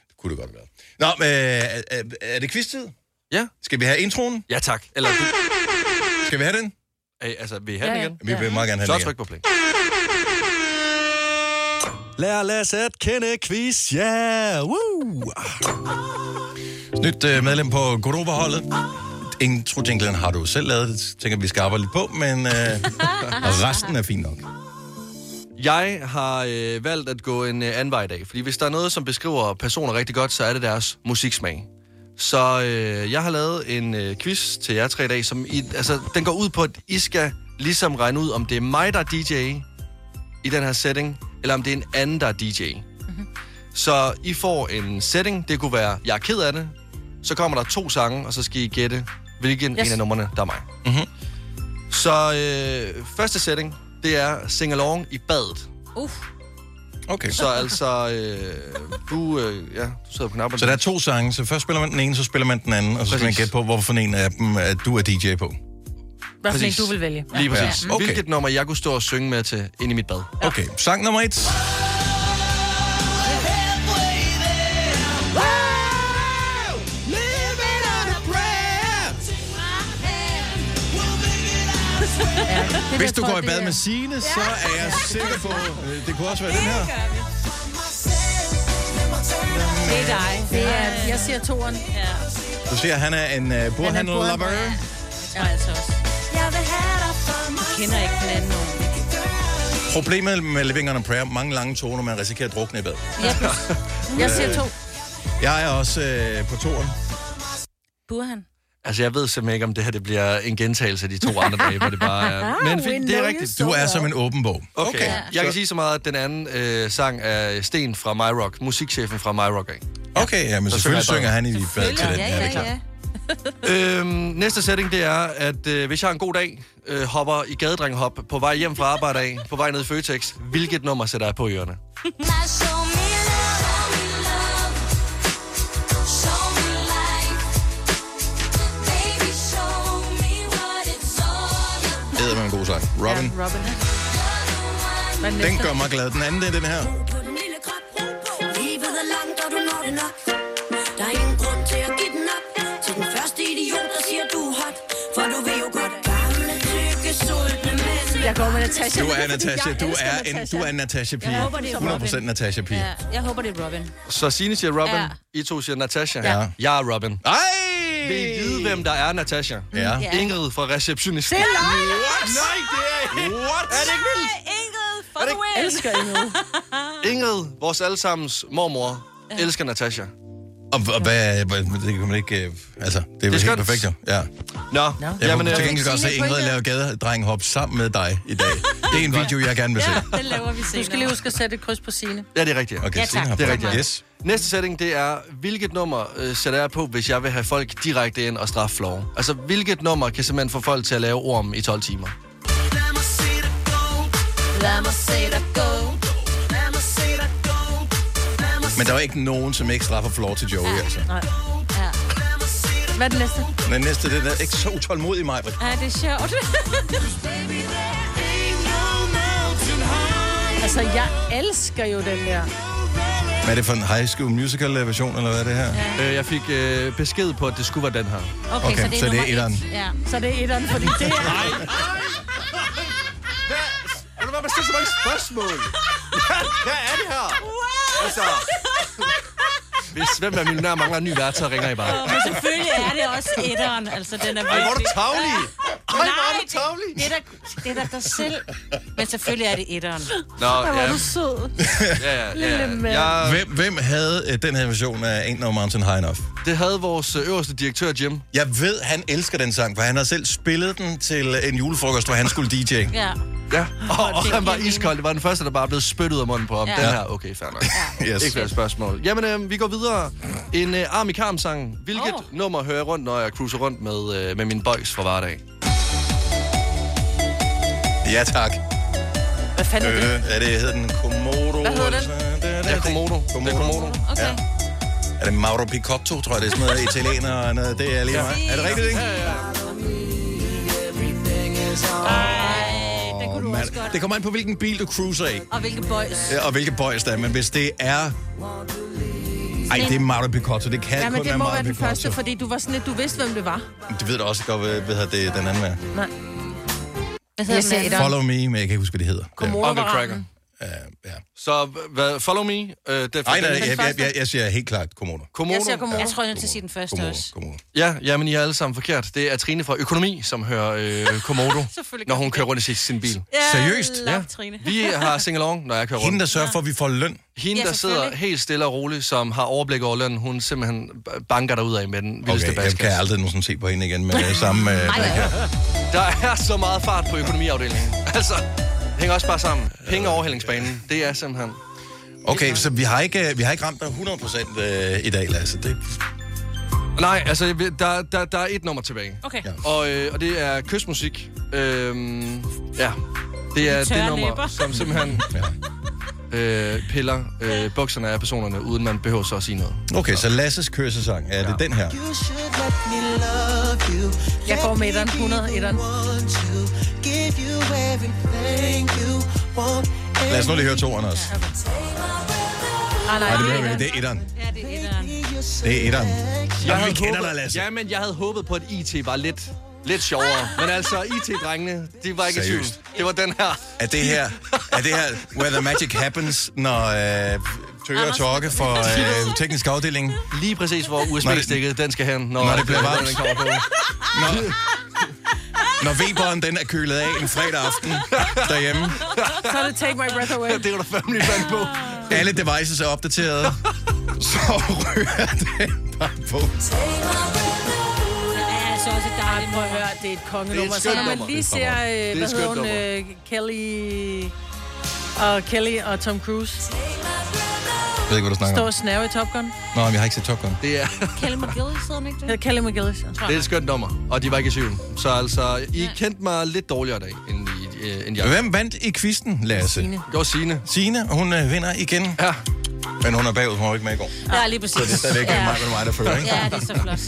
Speaker 1: Det kunne det godt være. Nå, men øh, er, er det quiztid?
Speaker 2: Ja.
Speaker 1: Skal vi have introen?
Speaker 2: Ja, tak. Eller,
Speaker 1: Skal vi have den?
Speaker 2: Æ, altså, vil I have
Speaker 1: Ja,
Speaker 2: den
Speaker 1: ja.
Speaker 2: igen?
Speaker 1: Vi vil meget gerne have
Speaker 2: Så
Speaker 1: den igen.
Speaker 2: tryk på play.
Speaker 11: Lær Lasse at kende quiz, ja! Yeah. Woo!
Speaker 1: Nyt øh, medlem på Godova-holdet. Intro-jinglen har du selv lavet, det tænker vi skal arbejde lidt på, men øh, resten er fint nok.
Speaker 2: Jeg har øh, valgt at gå en øh, anden vej i dag, fordi hvis der er noget, som beskriver personer rigtig godt, så er det deres musiksmag. Så øh, jeg har lavet en øh, quiz til jer tre i dag, som I, altså, den går ud på, at I skal ligesom regne ud, om det er mig, der er DJ i den her setting, eller om det er en anden, der er DJ. Mm-hmm. Så I får en setting, det kunne være, jeg er ked af det, så kommer der to sange, og så skal I gætte, hvilken yes.
Speaker 11: Yes.
Speaker 2: en af numrene, der er mig. Mm-hmm. Så øh, første setting, det er sing-along i badet.
Speaker 3: Uff.
Speaker 1: Okay.
Speaker 2: Så altså, øh, du, øh, ja, du sidder på knappen.
Speaker 1: Så der er to sange, så først spiller man den ene, så spiller man den anden, og så skal man
Speaker 2: Præcis.
Speaker 1: gætte på, hvorfor en af dem at du er DJ på.
Speaker 7: Hvad for en
Speaker 2: Præcis.
Speaker 7: du vil vælge?
Speaker 2: Lige præcis.
Speaker 1: Ja. Okay.
Speaker 2: Hvilket nummer jeg kunne stå og synge med til ind i mit bad.
Speaker 1: Okay, sang nummer et. Hvis du går i bad med Signe, så er jeg sikker på, øh, det kunne også være den her.
Speaker 7: Det er dig. Det er, jeg siger toren. Ja.
Speaker 1: Du siger, han er en uh, burhandel-lover.
Speaker 7: Ja, altså også. Jeg vil have dig for mig. Jeg kender ikke den anden nogen.
Speaker 1: Problemet med Living on a Prayer, mange lange toner, man risikerer at drukne i bad.
Speaker 7: Ja.
Speaker 3: Mm.
Speaker 7: Jeg siger to.
Speaker 1: Jeg er også øh, på toren.
Speaker 7: Burhan.
Speaker 2: Altså, jeg ved simpelthen ikke, om det her det bliver en gentagelse af de to andre dage, hvor det bare er... Men fint, det er rigtigt.
Speaker 1: Du er som en åben bog.
Speaker 2: Okay. okay.
Speaker 1: Ah, Ja.
Speaker 2: Jeg kan sige så meget, at den anden øh, sang er Sten fra My Rock, musikchefen fra My Rock. Ikke?
Speaker 1: Okay, ja, men
Speaker 2: Så
Speaker 1: selvfølgelig
Speaker 2: synger
Speaker 1: synger
Speaker 2: jeg
Speaker 1: han i bad til den.
Speaker 2: Ja, det er klart. øhm, næste sætning, det er, at øh, hvis jeg har en god dag, øh, hopper i gadedrenghop på vej hjem fra arbejde af, på vej ned i Føtex, hvilket nummer sætter jeg på i ørerne?
Speaker 1: Det er en god sang. Robin.
Speaker 7: Ja, Robin. Hvad er
Speaker 1: Den
Speaker 7: næste?
Speaker 1: gør mig glad. Den anden, det er den her.
Speaker 21: Livet er langt, og du når det nok. Der er ingen grund til at give den op. Til den første idiot, der siger, du er hot. For du ved jo godt, gamle, tykke, sultne mænd.
Speaker 7: Jeg går med Natasha.
Speaker 1: Du er Natasha. Du
Speaker 3: elsker
Speaker 1: er en, du er en Natasha-pige.
Speaker 3: Jeg håber, det er Robin.
Speaker 1: 100% Natasha-pige.
Speaker 3: Ja, jeg håber, det er Robin.
Speaker 2: Så Signe siger Robin,
Speaker 3: Ja.
Speaker 2: ja. I to siger Natasha.
Speaker 1: Ja.
Speaker 2: Jeg er Robin.
Speaker 1: Ej!
Speaker 2: Vil I vide, hvem der er Natasha?
Speaker 1: Ja.
Speaker 3: Ja.
Speaker 2: Ingrid fra receptionisten.
Speaker 3: Det er løgn!
Speaker 2: Nej, det er ikke.
Speaker 1: What?
Speaker 2: Er det ikke vildt?
Speaker 3: Nej, Ingrid, for the win!
Speaker 7: elsker Ingrid.
Speaker 2: Ingrid, vores allesammens mormor, elsker Natasha.
Speaker 1: Og, og hvad, hvad, det kan man ikke... øh, Altså, det er
Speaker 2: Det er
Speaker 1: vel helt
Speaker 2: skønt.
Speaker 1: perfekt, jo. Ja.
Speaker 2: Nå,
Speaker 1: Jeg
Speaker 2: jamen,
Speaker 1: Jamen,
Speaker 2: øh,
Speaker 1: til gengæld godt se Ingrid lave gadedrenghop sammen med dig i dag. Det er en video, jeg gerne vil se.
Speaker 7: Den laver vi senere. Du skal lige huske at sætte et kryds på sine.
Speaker 2: Ja, det er rigtigt.
Speaker 1: Okay, Ja, Signe tak. har
Speaker 2: Det er
Speaker 1: fået
Speaker 2: rigtigt.
Speaker 1: den. Yes.
Speaker 2: Næste sætning, det er, hvilket nummer øh, sætter jeg på, hvis jeg vil have folk direkte ind og straffe flov? Altså, hvilket nummer kan simpelthen få folk til at lave orm i 12 timer?
Speaker 21: Lad mig se dig gå. Lad mig se dig gå. Lad mig se dig gå. Lad mig
Speaker 1: Men der er jo ikke nogen, som ikke straffer for lov til Joey, altså.
Speaker 7: Nej. Ja. Hvad er den næste?
Speaker 1: Men næste, det er ikke så utålmodig, mig.
Speaker 3: Ja, det er sjovt.
Speaker 7: Altså, jeg elsker jo den der.
Speaker 1: Hvad er det for en high school musical øh, version, eller hvad er det her?
Speaker 2: Øh, jeg fik øh, besked på, at det skulle være den her.
Speaker 1: Okay, Okay, så det er så det er nummer et. etteren.
Speaker 7: Ja. Så det er etteren, fordi det er...
Speaker 2: Nej. Er du bare stille så mange spørgsmål? Hvad er det her? Altså, hvis hvem er min nær mangler en ny vært, så ringer I bare.
Speaker 3: Men selvfølgelig er det også etteren. Altså, den er
Speaker 2: Ej, hvor er du tavlig.
Speaker 3: Nej, det, det, er da, det er da dig selv. Men selvfølgelig er det etteren.
Speaker 2: Nå, Ej, hvor er ja. du
Speaker 7: sød.
Speaker 2: Ja, ja,
Speaker 3: Lille
Speaker 2: ja.
Speaker 3: mand.
Speaker 2: Jeg,
Speaker 1: Hvem, hvem havde øh, den her version af Ain't No Mountain High Enough?
Speaker 2: Det havde vores øh, øverste direktør, Jim.
Speaker 1: Jeg ved, han elsker den sang, for han har selv spillet den til en julefrokost, hvor han skulle DJ.
Speaker 3: Ja.
Speaker 2: Ja, og, og han var iskold. Det var den første, der bare blev spyttet ud af munden på ham.
Speaker 1: Ja.
Speaker 2: Ja. Den her, okay, fair nok.
Speaker 1: Ja. Yes.
Speaker 2: Ikke flere spørgsmål. Jamen, øh, vi går videre. En øh, arm i karm sang. Hvilket oh. nummer hører jeg rundt, når jeg cruiser rundt med, øh, med min boys fra hverdag?
Speaker 1: Ja, tak.
Speaker 7: Hvad fanden
Speaker 1: er det? Øh, er det hedder den Komodo?
Speaker 7: Hvad hedder den?
Speaker 1: Ja, Komodo. Komodo.
Speaker 2: Komodo.
Speaker 1: Okay. Ja. Er det Mauro Picotto, tror jeg, det er sådan noget italiener og noget. Det er lige
Speaker 8: Ja.
Speaker 1: meget. Er det rigtigt, ikke?
Speaker 7: Ej, den kunne du
Speaker 1: Man,
Speaker 7: også godt.
Speaker 1: det kommer an på, hvilken bil du cruiser i.
Speaker 7: Og hvilke boys.
Speaker 1: Ja, Og hvilke boys der er. Men hvis det er... Ej, det er Mauro Picotto. Det kan
Speaker 7: Ja,
Speaker 1: kun
Speaker 7: men det
Speaker 1: være
Speaker 7: må
Speaker 1: Mauro
Speaker 7: være den
Speaker 1: Picotto.
Speaker 7: første, fordi du var sådan lidt, du vidste, hvem det var.
Speaker 1: Du ved da også godt, hvad, hvad hedder det den anden er.
Speaker 7: Nej. Hvad
Speaker 2: Jeg ser
Speaker 7: hedder
Speaker 2: etteren.
Speaker 1: Follow me, men jeg kan ikke huske, hvad det hedder.
Speaker 2: Uncle Cracker. Så hvad, follow me. Øh, det er
Speaker 1: Nej, nej, jeg, jeg, jeg, jeg siger helt klart Komodo.
Speaker 2: Komodo?
Speaker 3: Jeg siger Komodo. Jeg tror, jeg er nødt til at sige den første
Speaker 2: Komodo,
Speaker 3: også.
Speaker 2: Ja, ja, men I er alle sammen forkert. Det er Trine fra Økonomi, som hører øh, Komodo, når hun kører rundt i sin- sin bil.
Speaker 3: Ja,
Speaker 1: Seriøst?
Speaker 3: love Trine.
Speaker 2: Vi har singalong, når jeg kører rundt.
Speaker 1: Hende, der sørger for, at vi får løn.
Speaker 2: Hende,
Speaker 3: Ja,
Speaker 2: der sidder
Speaker 3: selvfølgelig.
Speaker 2: helt stille og roligt, som har overblik over lønnen, hun simpelthen b- banker dig ud af med den vildeste
Speaker 1: Okay, jeg kan aldrig nogensinde se på hende igen med øh, samme... Øh, blik her.
Speaker 2: Der er så meget fart på økonomiafdelingen. Altså, det hænger også bare sammen. Penge og overhældingsbanen, det er simpelthen...
Speaker 1: okay, så vi har ikke, øh, vi har ikke ramt dig 100% øh, i dag, Lasse. Det,
Speaker 2: Nej, altså, jeg ved- der, der, der er et nummer tilbage.
Speaker 3: Okay.
Speaker 2: Og, øh, og det er kysmusik. Øhm, ja, det er det
Speaker 3: Tørre
Speaker 2: nummer,
Speaker 3: læber.
Speaker 2: som simpelthen øh, piller øh, bukserne af personerne, uden man behøver så at sige noget.
Speaker 1: okay, så Lasses kørsesang, er det den her?
Speaker 7: Jeg går med etteren, 100 etteren.
Speaker 1: Lad os nu lige høre toeren også.
Speaker 7: Ah,
Speaker 1: Nej, det behøver vi ikke. Det er etteren.
Speaker 7: Ja, det er etteren.
Speaker 1: Det er etteren.
Speaker 2: Jeg
Speaker 1: Jamen, vi
Speaker 2: havde
Speaker 1: kender dig,
Speaker 2: håbet-
Speaker 1: Lasse.
Speaker 2: Ja, men jeg havde håbet på, at IT var lidt, lidt sjovere. Men altså, IT-drengene, de var ikke i
Speaker 1: Seriøst.
Speaker 2: tvivl. Det var den her.
Speaker 1: Er det her, er det her where the magic happens, når øh, Tøger og Torke for øh, teknisk afdeling?
Speaker 2: Lige præcis, hvor USB-stikket, den skal hen, når, øh,
Speaker 1: Når det bliver
Speaker 2: Den
Speaker 1: varmt.
Speaker 2: kommer på.
Speaker 1: Når, når Weberen den er kølet af en fredag aften derhjemme.
Speaker 7: Så er det Take My Breath Away.
Speaker 2: det var du fandme lige fandt på.
Speaker 1: Alle devices er opdateret. Så ryger den bare på.
Speaker 7: Det er altså også et dejligt, prøv at høre, det er et kongenummer.
Speaker 8: skønt
Speaker 7: Så når man
Speaker 8: nummer.
Speaker 7: lige
Speaker 8: Det er et
Speaker 7: ser,
Speaker 8: skønt nummer.
Speaker 7: øh,
Speaker 8: Det er
Speaker 7: hvad
Speaker 8: et skønt
Speaker 7: hedder hun, øh, Kelly... Og Kelly og Tom Cruise
Speaker 1: Jeg ved ikke, hvad du snakker
Speaker 7: står
Speaker 1: om.
Speaker 7: og snæver i Top Gun.
Speaker 1: Nå, men jeg har ikke set Top Gun.
Speaker 2: Det er,
Speaker 7: Kelly McGillis hedder hun ikke det? Hedder Kelly McGillis, jeg tror.
Speaker 2: det er et skønt nummer, og de var ikke i tvivl. Så altså, I kendte mig lidt dårligere i dag, end, I, øh, end jeg.
Speaker 1: Hvem vandt i quizzen, Lasse?
Speaker 2: Signe. Det var Signe.
Speaker 1: Signe, og hun øh, vinder igen.
Speaker 2: Ja.
Speaker 1: Men hun er bagud, hun var ikke med i går.
Speaker 3: øh, Ja, lige præcis.
Speaker 1: Så det er stadigvæk
Speaker 3: ja.
Speaker 1: mig, mig, der fører, ikke?
Speaker 3: Ja, det er så flot.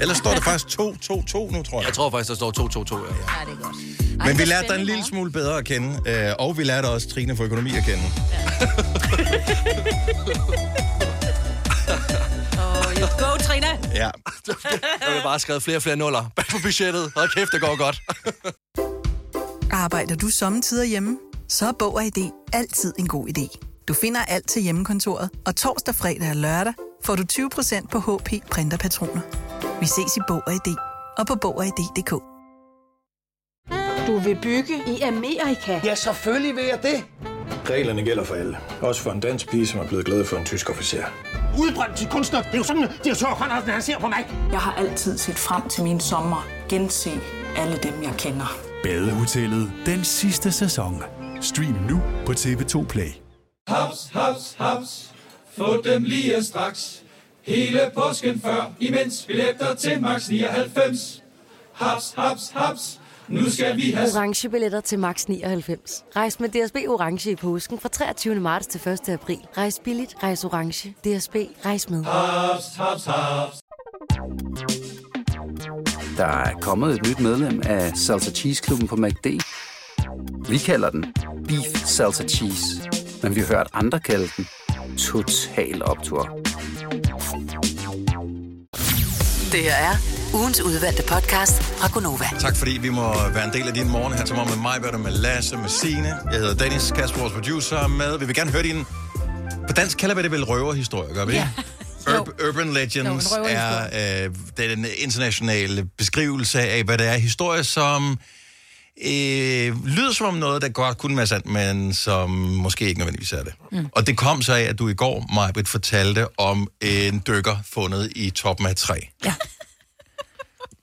Speaker 1: Ellers står det faktisk 2-2-2 nu, tror jeg.
Speaker 2: Jeg tror faktisk, der står 2-2-2, ja.
Speaker 3: Ja, det er godt.
Speaker 1: Men vi lærte dig en lille smule bedre at kende, øh, og vi lærte også Trine for økonomi at kende.
Speaker 3: Oh, you go, Trine.
Speaker 1: Ja.
Speaker 2: Der blev bare skrevet flere og flere nuller bag på budgettet. Hold kæft, det går godt.
Speaker 22: Arbejder du sommetider hjemme? Så er Bog og ID altid en god idé. Du finder alt til hjemmekontoret, og torsdag, fredag og lørdag får du 20% på HP Printerpatroner. Vi ses i Bog og ID og på Bog og ID.dk.
Speaker 23: Du vil bygge i Amerika? Ja, selvfølgelig vil jeg det.
Speaker 24: Reglerne gælder for alle. Også for en dansk pige, som er blevet glad for en tysk officer.
Speaker 9: Udbrøndt til kunstner. Det er jo sådan, at de har han ser på mig. Jeg har altid set frem til min sommer. Gense alle dem, jeg kender.
Speaker 25: Badehotellet den sidste sæson. Stream nu på TV2 Play.
Speaker 26: Haps, haps, haps. Få dem lige straks. Hele påsken før, imens vi læfter til max 99. Haps, haps, haps. Nu skal vi have...
Speaker 27: orange billetter til max 99. Rejs med DSB orange i påsken fra 23. marts til 1. april. Rejs billigt, rejs orange. DSB rejs med.
Speaker 26: Haps, haps, haps.
Speaker 28: Der er kommet et nyt medlem af Salsa Cheese Klubben på MACD. Vi kalder den Beef Salsa Cheese, men vi har hørt andre kalde den Total Optor.
Speaker 5: Det her er ugens udvalgte podcast fra Gonova.
Speaker 1: Tak fordi vi må være en del af din morgen her til morgen med mig, hvad der med Lasse, med Signe. Jeg hedder Dennis, Kasper, vores producer er med. Vi vil gerne høre din... På dansk kalder vi det vel røverhistorie, gør vi ikke? Ur- Urban Legends
Speaker 8: Jo, en
Speaker 1: er øh, det er den internationale beskrivelse af, hvad det er. Historie, som øh, lyder som om noget, der godt kunne være sandt, men som måske ikke nødvendigvis er det. Mm. Og det kom så af, at du i går, Majbrit, fortalte om en dykker fundet i toppen af et træ.
Speaker 7: Ja.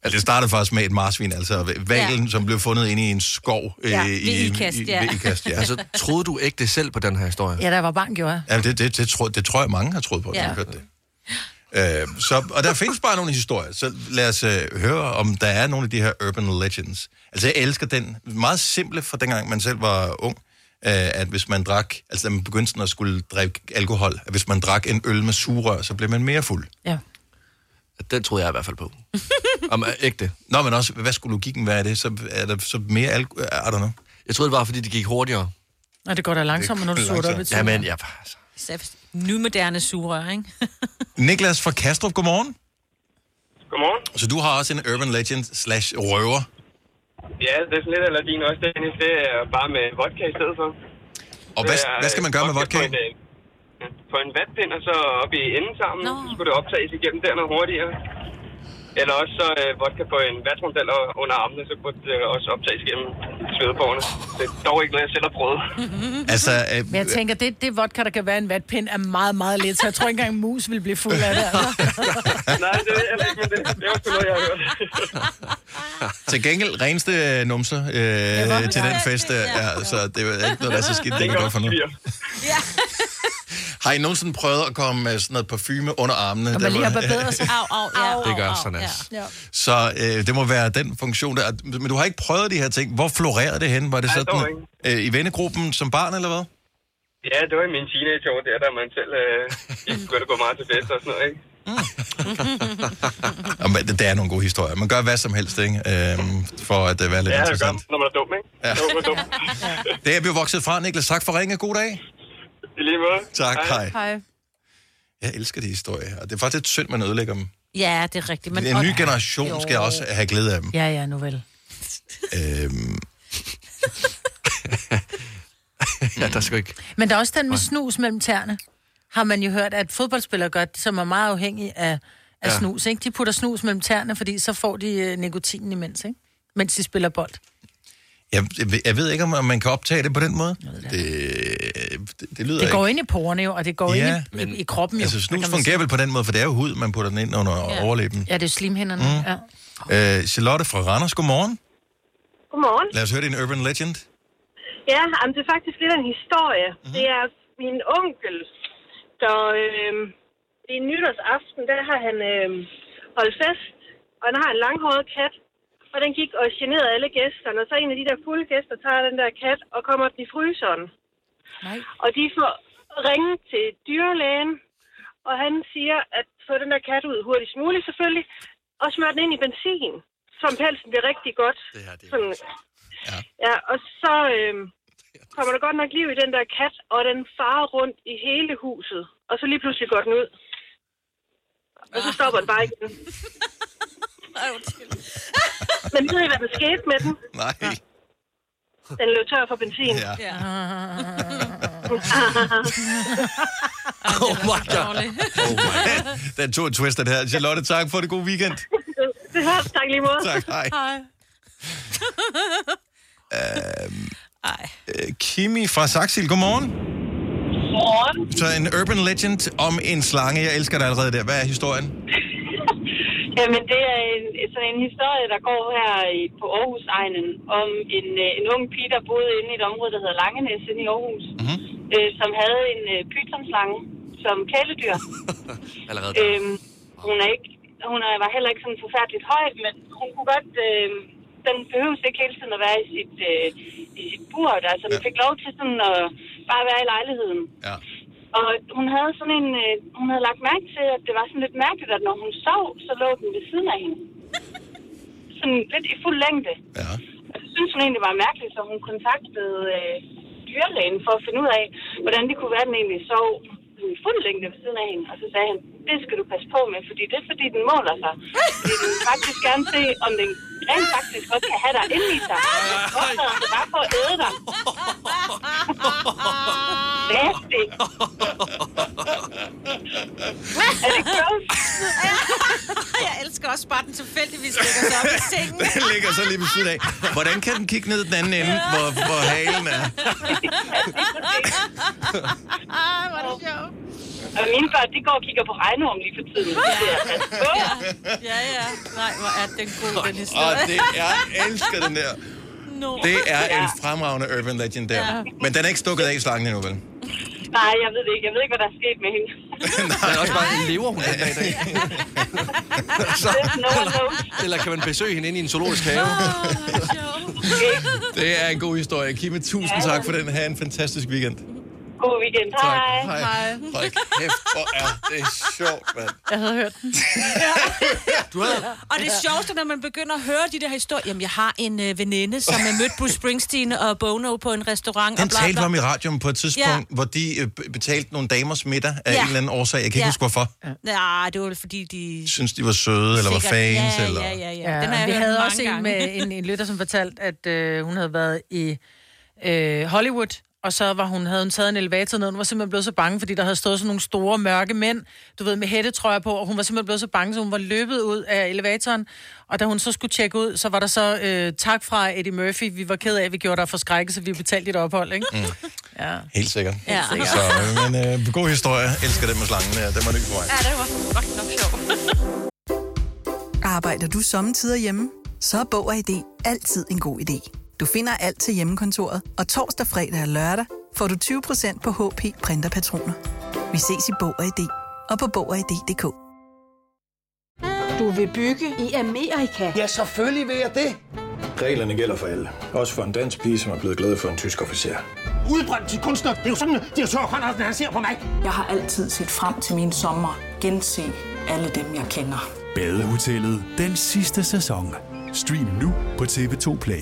Speaker 1: Altså, det startede faktisk med et marsvin, altså valen, ja. som blev fundet inde i en skov.
Speaker 7: Ja,
Speaker 1: øh,
Speaker 7: ved Ikast, ja.
Speaker 1: Ved Ikast, ja.
Speaker 7: Altså,
Speaker 1: troede du ikke det selv på den her historie?
Speaker 7: Ja, der var bank, gjorde jeg.
Speaker 1: Ja, det, det, det, tror, det tror jeg, mange har troet på, at
Speaker 7: Ja.
Speaker 1: ja. hørt det. Øh, så, og der findes bare nogle historier, så lad os øh, høre, om der er nogle af de her urban legends. Altså, jeg elsker den meget simple fra dengang, man selv var ung. øh, at hvis man drak, altså da man begyndte sådan at skulle drikke alkohol, at hvis man drak en øl med sugerør, så blev man mere fuld.
Speaker 7: Ja.
Speaker 1: Den troede jeg i hvert fald på. Om
Speaker 2: øh,
Speaker 1: ægte. Nå, men også, hvad skulle logikken være i det? Så er der så mere alkohol? I don't know.
Speaker 2: Jeg troede, det var, fordi det gik hurtigere.
Speaker 7: Nå, det går da langsommere, når du suger det op i
Speaker 2: Ja, men ja.
Speaker 3: Især hvis- nymoderne surrør, ikke?
Speaker 1: Niklas fra Kastrup, godmorgen. Godmorgen. Så du har også en urban legend slash røver.
Speaker 10: Ja, det er sådan lidt Aladdin også, Dennis. Det er bare med vodka i stedet for.
Speaker 1: Og hvad,
Speaker 10: Det er,
Speaker 1: hvad skal man gøre med vodka?
Speaker 10: På en, øh, på en vatpind, og så op i enden sammen. Nå. Så skulle det optages igennem der noget hurtigere. Eller også så øh, vodka på en vatrondel under armene, så burde det øh, også optages igennem svedebårene. Det er dog ikke noget, jeg selv har prøvet.
Speaker 1: Altså, øh,
Speaker 7: Men jeg tænker, det, det vodka, der kan være i en vatpind, er meget, meget let, så jeg tror ikke engang, mus vil blive fuld af det. Altså.
Speaker 10: Nej, det ved jeg heller ikke, men det, det er også noget, jeg har hørt.
Speaker 1: Til gengæld reneste øh, numser øh, til den fest. Øh, ja, så det er ikke noget, der er så skidt. Det kan godt for noget. Har I nogensinde prøvet at komme med sådan noget parfume under armene?
Speaker 3: Når
Speaker 1: Der
Speaker 3: man lige har
Speaker 1: var-
Speaker 3: barberet sig. Au, au, ja.
Speaker 1: Det gør sådan, altså.
Speaker 3: Ja.
Speaker 1: Så øh, det må være den funktion der. Men du har ikke prøvet de her ting. Hvor florerede det hen? Var det
Speaker 10: Nej, dog
Speaker 1: sådan øh, i vennegruppen som barn, eller hvad?
Speaker 10: Ja, det var i mine teenageår der, da man selv øh, gik- begyndte at gå meget til fest og sådan noget, ikke?
Speaker 1: Jamen, det, det er nogle gode historier. Man gør hvad som helst, ikke? Øh, for at øh, være lidt
Speaker 10: ja, det gør
Speaker 1: interessant.
Speaker 10: man, når man er dum, ikke?
Speaker 1: Ja.
Speaker 10: Når man er dum.
Speaker 1: Det er vi jo vokset fra, Niklas. Tak for ringen. God dag.
Speaker 10: I lige måde.
Speaker 1: Tak, hej.
Speaker 7: Hej.
Speaker 1: Jeg elsker de historier, og det er faktisk lidt synd, man ødelægger dem.
Speaker 3: ja, det er rigtigt.
Speaker 1: Men, en ny generation jo. skal også have glæde af dem.
Speaker 7: Ja, ja, nu vel.
Speaker 1: Øhm.
Speaker 2: ja, der skal ikke...
Speaker 7: Men der er også den med snus mellem tæerne. Har man jo hørt, at fodboldspillere gør, som er meget afhængige af, af
Speaker 2: Ja.
Speaker 7: ja. snus, ikke? De putter snus mellem tæerne, fordi så får de øh, nikotinen imens, ikke? Mens de spiller bold.
Speaker 1: Jeg, jeg, ved- jeg ved ikke, om om man kan optage det på den måde. Det, det, det lyder
Speaker 7: Det går
Speaker 1: ikke.
Speaker 7: ind i porerne jo, og det går
Speaker 1: Ja,
Speaker 7: ja, ind i, men, i kroppen jo.
Speaker 1: Altså,
Speaker 7: hvad
Speaker 1: snus
Speaker 7: kan man
Speaker 1: fungerer vel på den måde, for det er jo hud, man putter den ind under
Speaker 7: sige?
Speaker 1: ja. overlæben.
Speaker 7: Ja, det er jo slimhænderne.
Speaker 1: Mm.
Speaker 7: Mm. Ja.
Speaker 1: Øh, Charlotte fra Randers, godmorgen.
Speaker 29: Godmorgen.
Speaker 1: Lad os høre din urban legend.
Speaker 29: Ja, jamen, det er faktisk lidt af en historie. Mm-hmm. Det er min onkel, der øh, i nytårsaften, der har han øh, holdt fest, og han har en langhåret kat, og den gik og generede alle gæsterne, og så en af de der fulde gæster tager den der kat og kommer den i fryseren.
Speaker 7: Nej.
Speaker 29: Og de får ringe til dyrlægen, og han siger, at få den der kat ud hurtigst muligt selvfølgelig, og smør den ind i benzin, som pelsen bliver rigtig godt. Det her, det er sådan, Ja, og så øh, kommer der godt nok liv i den der kat, og den farer rundt i hele huset. Og så lige pludselig går den ud. Og så stopper den bare igen. Men ved I, hvad der skete med den?
Speaker 1: Nej.
Speaker 29: Den løb tør for benzin.
Speaker 1: Ja.
Speaker 29: ja.
Speaker 1: Oh my god. Oh my. Den tog en twist, den her. Charlotte, tak for det gode weekend.
Speaker 29: det var, tak lige måde.
Speaker 1: Tak, hej.
Speaker 29: hej.
Speaker 1: Øh, Kimi fra Saxil, godmorgen.
Speaker 29: Godmorgen.
Speaker 1: Så en urban legend om en slange. Jeg elsker dig allerede der. Hvad er historien?
Speaker 29: Jamen, det er en, sådan en historie, der går her i, på Aarhus-egnen om en, øh, en ung pige, der boede inde i et område, der hedder Langenæs inde i Aarhus, mm-hmm. øh, som havde en øh, pythonslange som kæledyr.
Speaker 2: Allerede der.
Speaker 29: øhm, hun er ikke, hun er, var heller ikke sådan forfærdeligt høj, men hun kunne godt... Øh, den behøves ikke hele tiden at være i sit, øh, i sit bur. Der. Altså, den fik lov til sådan at bare være i lejligheden.
Speaker 1: Ja.
Speaker 29: Og hun havde sådan en, øh, hun havde lagt mærke til, at det var sådan lidt mærkeligt, at når hun sov, så lå den ved siden af hende. Sådan lidt i fuld længde.
Speaker 1: Ja.
Speaker 29: Og det synes hun egentlig var mærkeligt, så hun kontaktede øh, dyrlægen for at finde ud af, hvordan det kunne være, at den egentlig sov sådan i fuld længde ved siden af hende. Og så sagde han, det skal du passe på med, fordi det er fordi, den måler sig. Fordi den vil faktisk gerne se, om den rent faktisk godt kan have dig inde i sig. Og så er det bare for at æde dig. Nasty.
Speaker 3: Er det Jeg elsker også bare, at den tilfældigvis ligger sig op i sengen.
Speaker 1: Den ligger så lige ved siden af. Hvordan kan den kigge ned den anden ende, hvor, hvor halen er?
Speaker 29: Ej, Ah, hvor er det sjovt. Og mine børn, de går og kigger på regnorm lige for tiden. Det er altså-
Speaker 3: ja, ja, ja. Nej, hvor er den god, den historie.
Speaker 1: Og det er, jeg elsker den der.
Speaker 3: No.
Speaker 1: Det er en fremragende urban legend der.
Speaker 3: Ja.
Speaker 1: Men den er ikke stukket af i slangen endnu, vel?
Speaker 29: Nej, jeg ved det ikke. Jeg ved ikke, hvad der er sket med hende.
Speaker 2: Nej, også bare, lever hun den dag i dag? Så, eller, eller kan man besøge hende inde i en zoologisk have?
Speaker 7: Ah.
Speaker 1: Det er en god historie. Kimme, tusind tak for den. Ha' en fantastisk weekend.
Speaker 29: God weekend.
Speaker 1: Tak.
Speaker 29: Hej.
Speaker 1: Hej. Hold kæft, hvor er det sjovt, mand.
Speaker 7: Jeg havde hørt den.
Speaker 1: Du havde...
Speaker 3: Og det sjoveste, når man begynder at høre de der historier. Jamen, jeg har en øh, veninde, som er mødt Bruce Springsteen og Bono på en restaurant.
Speaker 1: Den
Speaker 3: og bla,
Speaker 1: talte vi
Speaker 3: bla.
Speaker 1: om i radioen på et tidspunkt,
Speaker 3: Ja.
Speaker 1: ja. hvor de øh, b- betalte nogle damers middag af
Speaker 3: Ja.
Speaker 1: en eller anden årsag. Jeg kan ikke
Speaker 3: Ja.
Speaker 1: huske, hvorfor.
Speaker 3: Nej, det var vel, fordi de...
Speaker 1: Synes, de var søde, eller var
Speaker 3: Sikkert.
Speaker 1: fans,
Speaker 3: ja,
Speaker 1: eller...
Speaker 3: Ja, ja, ja.
Speaker 7: Ja,
Speaker 3: Den har jeg
Speaker 7: vi
Speaker 3: hørt
Speaker 7: havde
Speaker 3: mange
Speaker 7: også en,
Speaker 3: gange.
Speaker 7: med, en, en lytter, som fortalte, at øh, hun havde været i øh, Hollywood, og så var hun, havde hun taget en elevator ned, hun var simpelthen blevet så bange, fordi der havde stået sådan nogle store, mørke mænd, du ved, med hættetrøjer på, og hun var simpelthen blevet så bange, så hun var løbet ud af elevatoren, og da hun så skulle tjekke ud, så var der så øh, tak fra Eddie Murphy, vi var ked af, at vi gjorde dig for skrække, så vi betalte dit ophold, ikke?
Speaker 1: Mm.
Speaker 7: Ja.
Speaker 1: Helt sikkert.
Speaker 7: Ja. Helt sikkert.
Speaker 1: Så, øh, men øh, god historie. Elsker den med slangen. Ja, den var ny for mig.
Speaker 3: Ja, det var fucking nok sjovt.
Speaker 22: Arbejder du sommetider hjemme? Så er Bog og ID altid en god idé. Du finder alt til hjemmekontoret, og torsdag, fredag og lørdag får du 20% på HP printerpatroner. Vi ses i Bog og ID og på Bog og ID.dk.
Speaker 23: Du vil bygge i Amerika? Ja, selvfølgelig vil jeg det.
Speaker 24: Reglerne gælder for alle. Også for en dansk pige, som er blevet glad for en tysk officer.
Speaker 9: Udbrændt til kunstner. Det er jo sådan, at de har tørt, han, han ser på mig. Jeg har altid set frem til min sommer. Gense alle dem, jeg kender.
Speaker 25: Badehotellet den sidste sæson. Stream nu på TV2 Play.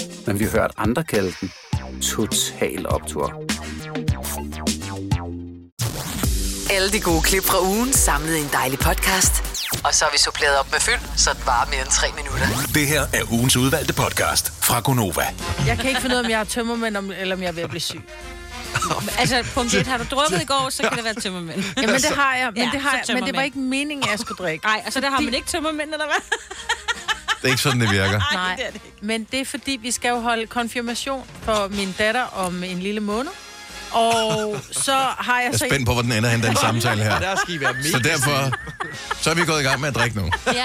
Speaker 28: men vi har hørt andre kalde den Total Optor.
Speaker 5: Alle de gode klip fra ugen samlet i en dejlig podcast. Og så har vi suppleret op med fyld, så det varer mere end tre minutter.
Speaker 13: Det her er ugens udvalgte podcast fra Gonova.
Speaker 7: Jeg kan ikke finde ud af, om jeg har tømmermænd, om- eller om jeg er ved at blive syg.
Speaker 3: Altså, punkt et, har du drukket i går, så kan det være tømmermænd.
Speaker 7: Jamen, det har jeg, men,
Speaker 3: Altså, Ja,
Speaker 7: det, har
Speaker 3: så
Speaker 7: jeg, men det var
Speaker 3: tømmermænd.
Speaker 7: ikke meningen, at jeg skulle drikke.
Speaker 3: Nej, altså der har man ikke tømmermænd, eller hvad?
Speaker 1: Det er ikke sådan, det virker.
Speaker 7: Nej, det er det ikke. men det er fordi, vi skal jo holde konfirmation for min datter om en lille måned. Og så har jeg,
Speaker 1: Jeg
Speaker 7: så...
Speaker 1: er spændt på, hvor den ender hen, den samtale her.
Speaker 7: Der skal I være mega
Speaker 1: så derfor, så er vi gået i gang med at drikke nu.
Speaker 7: Ja.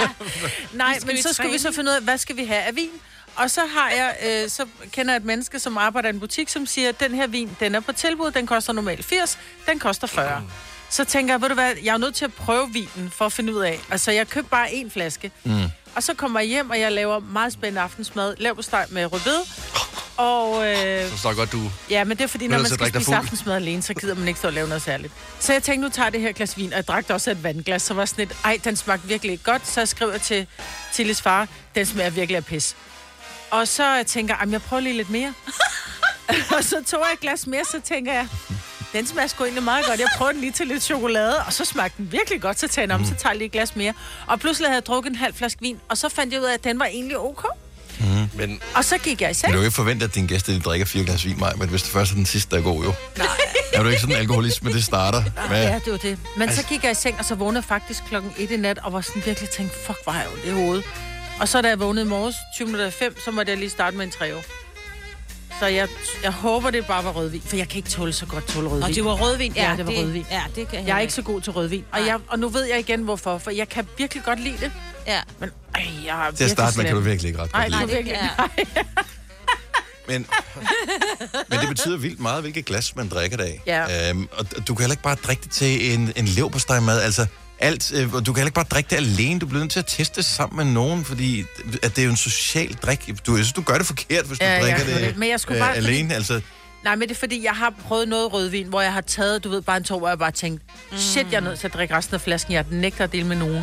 Speaker 7: Nej,
Speaker 3: skal
Speaker 7: men
Speaker 3: vi
Speaker 7: så skal
Speaker 3: træne.
Speaker 7: vi så finde ud af, hvad skal vi have af vin? Og så har jeg, øh, så kender jeg et menneske, som arbejder i en butik, som siger, at den her vin, den er på tilbud, den koster normalt 80, den koster 40.
Speaker 1: Mm.
Speaker 7: Så tænker jeg, ved du hvad, jeg er nødt til at prøve vinen for at finde ud af. Altså, jeg købte bare en flaske.
Speaker 12: Mm.
Speaker 7: Og så kommer jeg hjem, og jeg laver meget spændende aftensmad. Lav på steg med rødbed. Og øh,
Speaker 2: Så står godt, du...
Speaker 7: Ja, men det er fordi,
Speaker 2: Nu
Speaker 7: når
Speaker 2: er
Speaker 7: man
Speaker 2: det så
Speaker 7: skal
Speaker 2: at drikke dig
Speaker 7: spise
Speaker 2: fuld.
Speaker 7: aftensmad alene, så gider man ikke stå og lave noget særligt. Så jeg tænkte, nu tager jeg det her glas vin, og jeg drak da også et vandglas, så var jeg sådan lidt, ej, den smagte virkelig ikke godt, så jeg skriver til Tilles far, den smager virkelig af pis. Og så tænker jeg, "Jamen, jeg prøver lige lidt mere. og så tog jeg et glas mere, så tænker jeg, den smager sgu egentlig meget godt. Jeg prøver den lige til lidt chokolade, og så smagte den virkelig godt, så tager jeg den om, så tager jeg lige et glas mere. Og pludselig havde jeg drukket en halv flaske vin, og så fandt jeg ud af, at den var egentlig ok. Mhm.
Speaker 1: Mm.
Speaker 2: Men
Speaker 7: Og så gik jeg i
Speaker 1: vil
Speaker 7: seng.
Speaker 1: du jo ikke forvente, at dine gæster de drikker fire glas vin, Maj, men hvis det først er den sidste, der er god, jo. Nej. Er du ikke sådan en alkoholisme, det starter med?
Speaker 7: Ja, det var det. Men
Speaker 1: Altså-
Speaker 7: så gik jeg i seng, og så vågnede jeg faktisk klokken 1 i nat, og var sådan virkelig tænkt, fuck, hvor har jeg ondt i hovedet. Og så da jeg vågnede i morges, 20 minutter i fem, så måtte jeg lige starte med en treo. Så jeg, jeg håber, det bare var rødvin, for jeg kan ikke tåle så godt tåle rødvin.
Speaker 3: Og det var rødvin?
Speaker 7: Ja,
Speaker 3: Ja,
Speaker 7: det var
Speaker 3: det-
Speaker 7: rødvin.
Speaker 3: ja, det kan jeg
Speaker 7: jeg er
Speaker 3: heller
Speaker 7: ikke så god til rødvin. Og, jeg, og nu ved jeg igen, hvorfor, for jeg kan virkelig godt lide det.
Speaker 3: Ja.
Speaker 7: Men ej, jeg er
Speaker 1: Til at starte med
Speaker 7: virkelig
Speaker 1: kan du
Speaker 7: slem.
Speaker 1: virkelig ikke ret
Speaker 7: Nej,
Speaker 1: godt
Speaker 7: nej,
Speaker 1: lide det.
Speaker 7: virkelig ikke.
Speaker 1: Men, men det betyder vildt meget, hvilket glas man drikker det af.
Speaker 7: Ja.
Speaker 1: Øhm, og d- du kan heller ikke bare drikke det til en, en leverpostejmad. Altså, alt, øh, og du kan heller ikke bare drikke det alene. Du bliver nødt til at teste det sammen med nogen, fordi at det er jo en social drik. Du, jeg synes, du gør det forkert, hvis du
Speaker 7: Ja, ja,
Speaker 1: drikker
Speaker 7: det er
Speaker 1: det
Speaker 7: det. Men jeg skulle bare- fordi-
Speaker 1: alene. Altså,
Speaker 7: Nej, men det er fordi, jeg har prøvet noget rødvin, hvor jeg har taget, du ved, bare en tår, hvor jeg bare tænkt, shit, jeg er nødt til at drikke resten af flasken, jeg nægter at dele med nogen.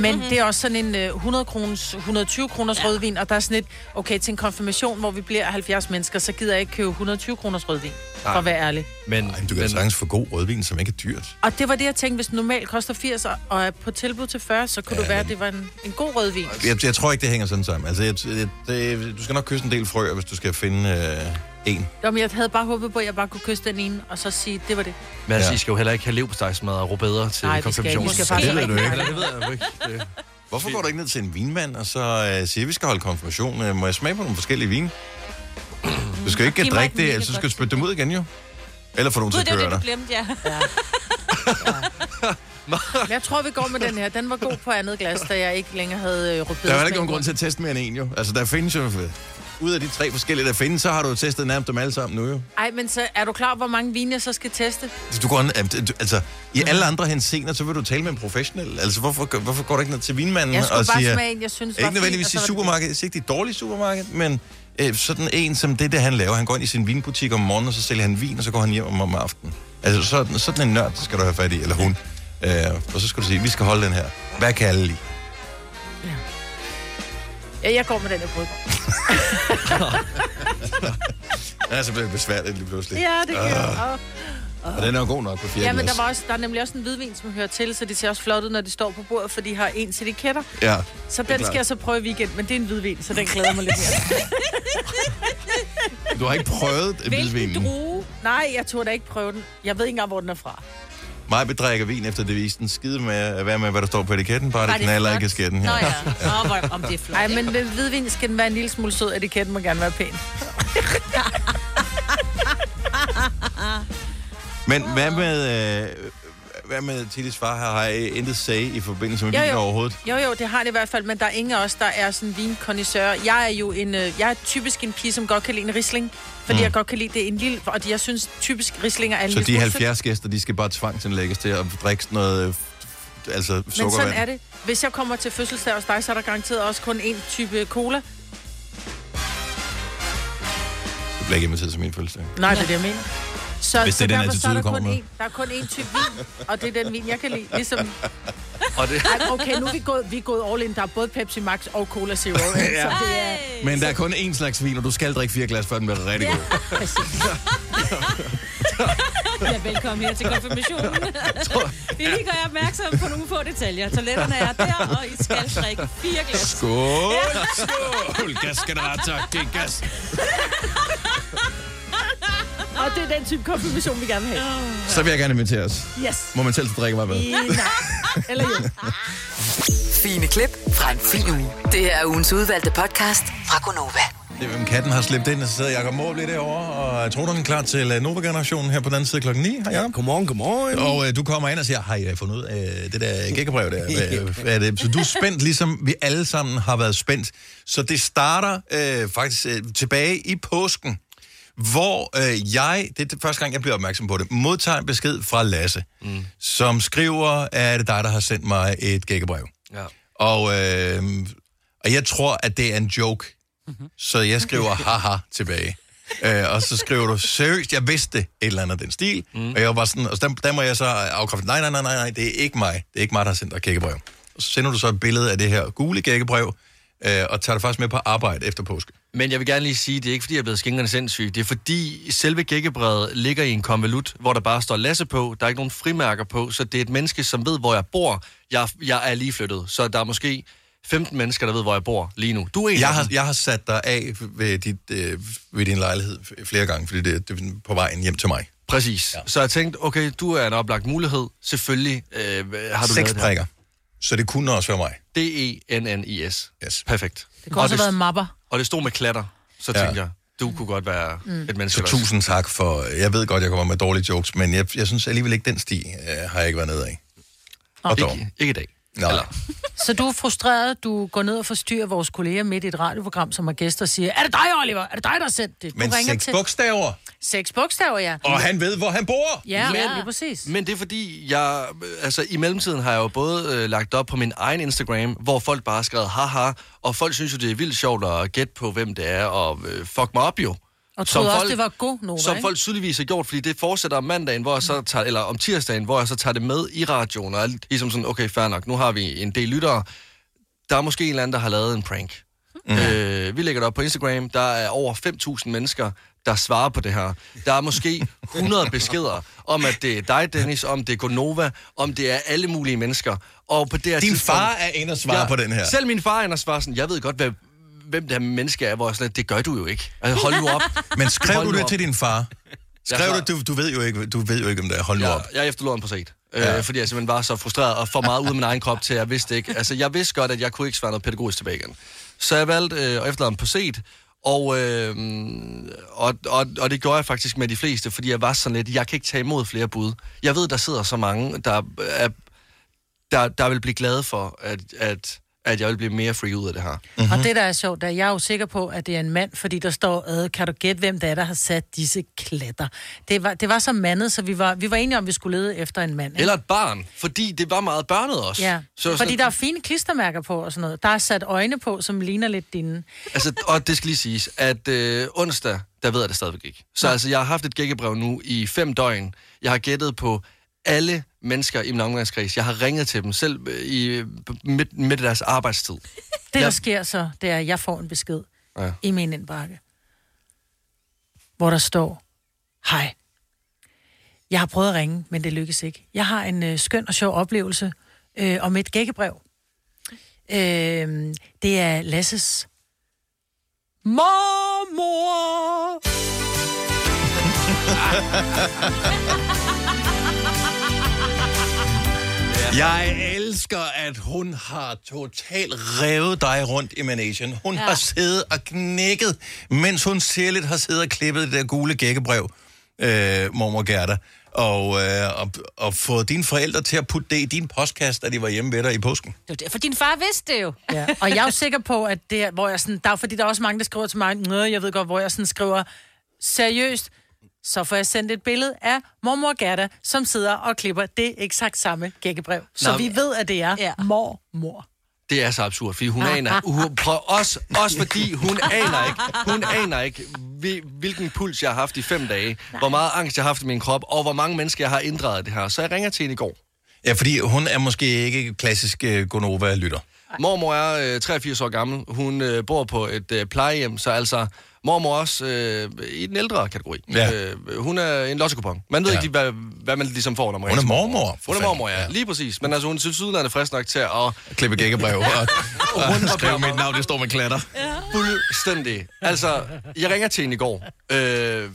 Speaker 7: men det er også sådan en øh, 100 kroners, 120 kroners ja. rødvin, og der er sådan et, okay, til en konfirmation, hvor vi bliver 70 mennesker, så gider jeg ikke købe 120 kroners rødvin, for at være ærlig.
Speaker 2: Men,
Speaker 1: Ej, men du kan men... sagtens få god rødvin, som ikke er dyrt.
Speaker 7: Og det var det, jeg tænkte, hvis den normalt koster 80 og- og er på tilbud til 40, så kunne ja, det være, at det var en, en god rødvin.
Speaker 1: Jeg, jeg tror ikke, det hænger sådan sammen. Altså, jeg, jeg, det, du skal nok kysse en del frøer, hvis du skal finde... Øh, En.
Speaker 7: Jo, men jeg havde bare håbet på, at jeg bare kunne kysse den ene, og så sige, det var det.
Speaker 2: Men altså, I skal jo heller ikke have levpostejsmad og rubeder til
Speaker 7: Nej, vi skal ikke.
Speaker 2: konfirmationen.
Speaker 7: Vi skal faktisk
Speaker 1: Det ved du ikke.
Speaker 2: Eller det ved jeg jo ikke. Det-
Speaker 1: Hvorfor går du ikke ned til en vinmand, og så øh, siger, vi skal holde konfirmation? Øh, må jeg smage på nogle forskellige vine? Du skal jo ikke
Speaker 3: Giv mig
Speaker 1: drikke
Speaker 3: et
Speaker 1: det, ellers så skal du spytte dem ud igen, jo. Eller få nogen til
Speaker 3: Gud,
Speaker 1: at
Speaker 3: det var
Speaker 1: køre
Speaker 3: det,
Speaker 1: dig.
Speaker 3: du glemte, ja.
Speaker 7: Jeg tror, vi går med den her. Den var god på andet glas, da jeg ikke længere havde øh, rødbeder.
Speaker 1: Der er jo heller ikke nogen grund til at teste mere end en, jo. Altså, der findes jo... Ud af de tre forskellige, der findes, så har du jo testet nærmest dem alle sammen nu, jo.
Speaker 7: Ej, men så er du klar over, hvor mange vine jeg så skal teste?
Speaker 1: Du går, an- jamen, du- altså, i alle andre hensener, så vil du tale med en professionel. Altså, hvorfor, hvorfor går du ikke ned til vinmanden
Speaker 7: Jeg skulle
Speaker 1: og
Speaker 7: bare
Speaker 1: siger...
Speaker 7: smage en, jeg synes var
Speaker 1: ikke
Speaker 7: fin, og
Speaker 1: nødvendigvis
Speaker 7: så
Speaker 1: i
Speaker 7: var det fint.
Speaker 1: supermarkedet, det er ikke det dårlige supermarked, men øh, sådan en som det, det han laver. Han går ind i sin vinbutik om morgenen, og så sælger han vin, og så går han hjem om, om aftenen. Altså, sådan, sådan en nørd skal du have fat i, eller hun. Øh, og så skal du sige, vi skal holde den her. Hvad kan alle lide?
Speaker 7: Ja, jeg går med den, jeg prøver.
Speaker 1: Ja, så bliver det besværligt lige pludselig.
Speaker 7: Ja, det kan
Speaker 1: Ah,
Speaker 7: jeg. Åh, åh.
Speaker 1: Og den er jo god nok på fjerde
Speaker 7: Ja, men der, var også, der er nemlig også en hvidvin, som hører til, så de ser også flot ud, når de står på bordet, for de har ens etiketter.
Speaker 1: Ja,
Speaker 7: Så
Speaker 1: det er
Speaker 7: den skal
Speaker 1: klart.
Speaker 7: jeg så prøve i weekend, men det er en hvidvin, så den glæder jeg mig lidt mere.
Speaker 1: Du har ikke prøvet vildvinen.
Speaker 7: drue? Nej, jeg turde da ikke prøve den. Jeg ved ikke engang, hvor den er fra.
Speaker 1: Mig bedrækker vin efter devisen. Skide med, hvad med, hvad der står på etiketten. Bare
Speaker 7: Var
Speaker 1: det
Speaker 7: det
Speaker 1: knaller i
Speaker 7: flot?
Speaker 1: kasketten her.
Speaker 7: Nå ja.
Speaker 3: Nå, hvor, om det er flot.
Speaker 7: Nej, men ved hvidvin skal den være en lille smule sød, etiketten må gerne være pæn.
Speaker 1: Men hvad med, øh, hvad med Tillis far her? Har I intet sag i forbindelse med vin overhovedet?
Speaker 7: Jo, jo, det har det i hvert fald, men der er ingen af os, der er sådan vinkondisseur. Jeg er jo en, øh, jeg er typisk en pige, som godt kan lide en risling, fordi
Speaker 1: Mm.
Speaker 7: mm. jeg godt kan lide det er en lille, og de- jeg synes typisk rislinger er en
Speaker 1: Så
Speaker 7: lille
Speaker 1: de
Speaker 7: smule sødt.
Speaker 1: 70 gæster, de skal bare tvangsindlægges til at drikke sådan noget, øh, f- altså sukkervand.
Speaker 7: Men sådan er det. Hvis jeg kommer til fødselsdag hos dig, så er der garanteret også kun én type cola.
Speaker 1: Du bliver ikke inviteret til min fødselsdag.
Speaker 7: Nej, det er det, jeg mener. Så,
Speaker 1: Hvis det er den
Speaker 7: derfor så
Speaker 1: attitude,
Speaker 7: er
Speaker 1: du
Speaker 7: der,
Speaker 1: kommer
Speaker 7: kun
Speaker 1: med.
Speaker 7: én, der er kun én type vin, og det er den vin, jeg kan lide. Ligesom,
Speaker 2: Og det...
Speaker 7: Ej, okay, nu er vi gået, vi er gået all in. Der er både Pepsi Max og Cola Zero.
Speaker 1: Ja.
Speaker 7: ja. Så det er...
Speaker 1: Men der er kun én slags vin, og du skal drikke fire glas, før den bliver rigtig god.
Speaker 3: Ja, velkommen her til konfirmationen. Vi lige gør jer opmærksom på nogle få detaljer. Toiletterne er der, og I skal drikke fire glas.
Speaker 1: Skål! Skål! Gasgenerator, det er gas.
Speaker 7: Og det er den type konfirmation, vi gerne vil have.
Speaker 1: Så vil jeg gerne invitere os.
Speaker 7: Yes.
Speaker 1: Må man selv drikke mig med?
Speaker 7: Eller jo.
Speaker 5: Fine klip fra en fin uge. Det her er ugens udvalgte podcast fra Gonova.
Speaker 1: Det er, hvem katten har slæbt ind, og så sidder Jacob Måb lige derovre, og jeg tror, du er klar til øh, Nova-generationen her på den anden side klokken 9. Hej, Jacob.
Speaker 11: Godmorgen, godmorgen.
Speaker 1: Og øh, du kommer ind og siger, har I øh, fundet ud af det der gækkebrev der? Hvad, hvad er det? Så du er spændt, ligesom vi alle sammen har været spændt. Så det starter øh, faktisk øh, tilbage i påsken, hvor øh, jeg, det er det første gang, jeg bliver opmærksom på det, modtager en besked fra Lasse, mm. som skriver, at det er dig, der har sendt mig et gækkebrev.
Speaker 2: Ja.
Speaker 1: Og, øh, og jeg tror, at det er en joke.
Speaker 2: Mhm.
Speaker 1: Mm-hmm. Så jeg skriver haha tilbage. Øh, og så skriver du, seriøst, jeg vidste det." et eller andet af den stil. Mm. Og jeg var bare sådan, og så der, der må jeg så afkræfte, nej, nej, nej, nej, nej, det er ikke mig. Det er ikke mig, der har sendt dig kækkebrev. Og så sender du så et billede af det her gule kækkebrev, øh, og tager det faktisk med på arbejde efter påske.
Speaker 2: Men jeg vil gerne lige sige, det er ikke fordi, jeg er blevet skængerne sindssyg. Det er fordi, selve gækkebredet ligger i en konvolut, hvor der bare står Lasse på. Der er ikke nogen frimærker på, så det er et menneske, som ved, hvor jeg bor. Jeg, jeg er lige flyttet, så der er måske 15 mennesker, der ved, hvor jeg bor lige nu. Du er en
Speaker 1: Jeg
Speaker 2: af
Speaker 1: har,
Speaker 2: dem.
Speaker 1: jeg har sat dig af ved, dit, øh, ved din lejlighed f- flere gange, fordi det, det er på vejen hjem til mig.
Speaker 2: Præcis. Ja. Så jeg tænkte, okay, du er en oplagt mulighed. Selvfølgelig øh, har du lavet det
Speaker 1: Seks
Speaker 2: her. E
Speaker 1: prikker. Så det kunne også være mig.
Speaker 2: D-E-N-N-I-S.
Speaker 1: Yes.
Speaker 2: Perfekt.
Speaker 7: Det kunne også have været mapper.
Speaker 2: og det stod med klatter, så
Speaker 1: Ja.
Speaker 2: tænkte jeg, du kunne godt være
Speaker 7: Mm.
Speaker 2: mm. et menneske.
Speaker 1: Så tusind tak for... Jeg ved godt, jeg kommer med dårlige jokes, men jeg, jeg synes alligevel ikke, den sti øh, har jeg ikke været nede af. Og dog.
Speaker 2: Ikke, ikke i dag.
Speaker 1: Nej. Eller.
Speaker 7: Så du er frustreret, du går ned og forstyrrer vores kolleger midt i et radioprogram, som har gæster og siger, er det dig, Oliver? Er det dig, der har sendt det? Du
Speaker 2: Men seks
Speaker 1: bogstaver.
Speaker 7: Seks bogstaver, ja.
Speaker 1: ved, hvor han bor.
Speaker 7: Ja, ja, lige præcis.
Speaker 2: Men det er fordi, jeg, altså i mellemtiden har jeg jo både øh, lagt op på min egen Instagram, hvor folk bare har skrevet haha, og folk synes jo, det er vildt sjovt at gætte på, hvem det er, og øh, fuck mig op jo.
Speaker 7: Og
Speaker 2: Som
Speaker 7: troede også,
Speaker 2: folk-
Speaker 7: det var god Nova,
Speaker 2: Som
Speaker 7: ikke? Mm.
Speaker 2: folk tydeligvis har gjort, fordi det fortsætter om mandagen, hvor jeg så tager, eller om tirsdagen, hvor jeg så tager det med i radioen, og er ligesom sådan, okay, fair nok, nu har vi en del lyttere. Der er måske en eller anden, der har lavet en prank.
Speaker 1: Mhm.
Speaker 2: Mm. Øh, vi lægger det op på Instagram. Der er over 5.000 mennesker, der svarer på det her. Der er måske 100 beskeder om, at det er dig, Dennis, om det er Gonova, om det er alle mulige mennesker. Og på det her
Speaker 1: Din
Speaker 2: tidspunkt-
Speaker 1: far er inde og svare på den her.
Speaker 2: Selv min far er inde og svare sådan, jeg ved godt, hvad, hvem det her menneske er, hvor jeg sådan, lidt, det gør du jo ikke. Altså, hold nu op.
Speaker 1: Men skrev
Speaker 2: Hold
Speaker 1: du
Speaker 2: nu
Speaker 1: det
Speaker 2: op.
Speaker 1: til din far? Skrev
Speaker 2: Jeg
Speaker 1: du, du, du ved jo ikke, du ved jo ikke, om det er. Hold nu op.
Speaker 2: Jeg efterlod ham på set.
Speaker 1: Ja.
Speaker 2: Øh, fordi jeg simpelthen var så frustreret og for meget ud af min egen krop til, at jeg vidste ikke. Altså, jeg vidste godt, at jeg kunne ikke svare noget pædagogisk tilbage igen. Så jeg valgte øh, at efterlade ham på set, og, øh, og, og, og det gjorde jeg faktisk med de fleste, fordi jeg var sådan lidt, jeg kan ikke tage imod flere bud. Jeg ved, der sidder så mange, der, er, der, der vil blive glade for, at, at, at jeg vil blive mere free ud af det her.
Speaker 7: Mm-hmm. Og det, der er sjovt, der er jeg er jo sikker på, at det er en mand, fordi der står, ad, kan du gætte, hvem det er, der har sat disse klatter? Det var, det var så mandet, så vi var, vi var enige om, at vi skulle lede efter en mand. ikke?
Speaker 2: Eller et barn, fordi det var meget børnet også.
Speaker 7: Ja,
Speaker 2: Så
Speaker 7: så
Speaker 2: sådan-
Speaker 7: fordi der er fine klistermærker på og sådan noget. Der er sat øjne på, som ligner lidt dine.
Speaker 2: altså, og det skal lige siges, at øh, onsdag, der ved jeg det stadigvæk ikke. Så altså, jeg har haft et gækkebrev nu i fem døgn. Jeg har gættet på alle mennesker i min omgangskreds. Jeg har ringet til dem selv øh, i, midt, midt i deres arbejdstid.
Speaker 7: Det, der
Speaker 2: Ja.
Speaker 7: sker så, det er, at jeg får en besked
Speaker 2: Ja.
Speaker 7: i min indbakke, hvor der står, hej, jeg har prøvet at ringe, men det lykkes ikke. Jeg har en øh, skøn og sjov oplevelse øh, om et gækkebrev. Øh, det er Lasses mormor.
Speaker 1: Jeg elsker, at hun har totalt revet dig rundt i managen. Hun
Speaker 8: Ja.
Speaker 1: ja. har siddet og knækket, mens hun særligt har siddet og klippet det der gule gækkebrev, øh, mormor Gerda, og, øh, og, og fået dine forældre til at putte det i din postkasse, da de var hjemme ved dig i påsken.
Speaker 3: Det var derfor, din far vidste det jo.
Speaker 7: Ja. Og jeg er jo sikker på, at det er, hvor jeg sådan, der er, fordi der er også mange, der skriver til mig, noget, jeg ved godt, hvor jeg sådan skriver, seriøst, så får jeg sendt et billede af mormor Gerda, som sidder og klipper det eksakt samme gækkebrev. Så
Speaker 2: Nå,
Speaker 7: vi
Speaker 2: men-
Speaker 7: ved, at det er ja. mormor.
Speaker 2: Det er så absurd, fordi hun aner... Hun, prøv, også, også fordi hun aner ikke, hun aner ikke hvil- hvilken puls jeg har haft i fem dage, Nej. hvor meget angst jeg har haft i min krop, og hvor mange mennesker jeg har inddraget i det her. Så jeg ringer til hende i går.
Speaker 1: Ja, fordi hun er måske ikke klassisk øh, Gonova-lytter.
Speaker 2: Mormor er øh, 83 år gammel. Hun øh, bor på et øh, plejehjem, så altså mormor er også øh, i den ældre kategori.
Speaker 1: Ja.
Speaker 2: Øh, hun er en lotto Man ved
Speaker 1: Ja.
Speaker 2: ja. ikke, lige, hvad, hvad man ligesom får, når man
Speaker 1: Hun er
Speaker 2: ringer til
Speaker 1: mormor, for
Speaker 2: Hun er
Speaker 1: fanden.
Speaker 2: mormor, ja.
Speaker 1: Ja.
Speaker 2: ja. Lige præcis. Men altså, hun synes sydenlande er frisk nok til at...
Speaker 1: Klippe gækkebrev og,
Speaker 2: Rundt
Speaker 1: og
Speaker 2: om
Speaker 1: skrive mit navn, det står med klatter.
Speaker 2: Fuldstændig. Altså, jeg ringer til hende i går, øh, øh,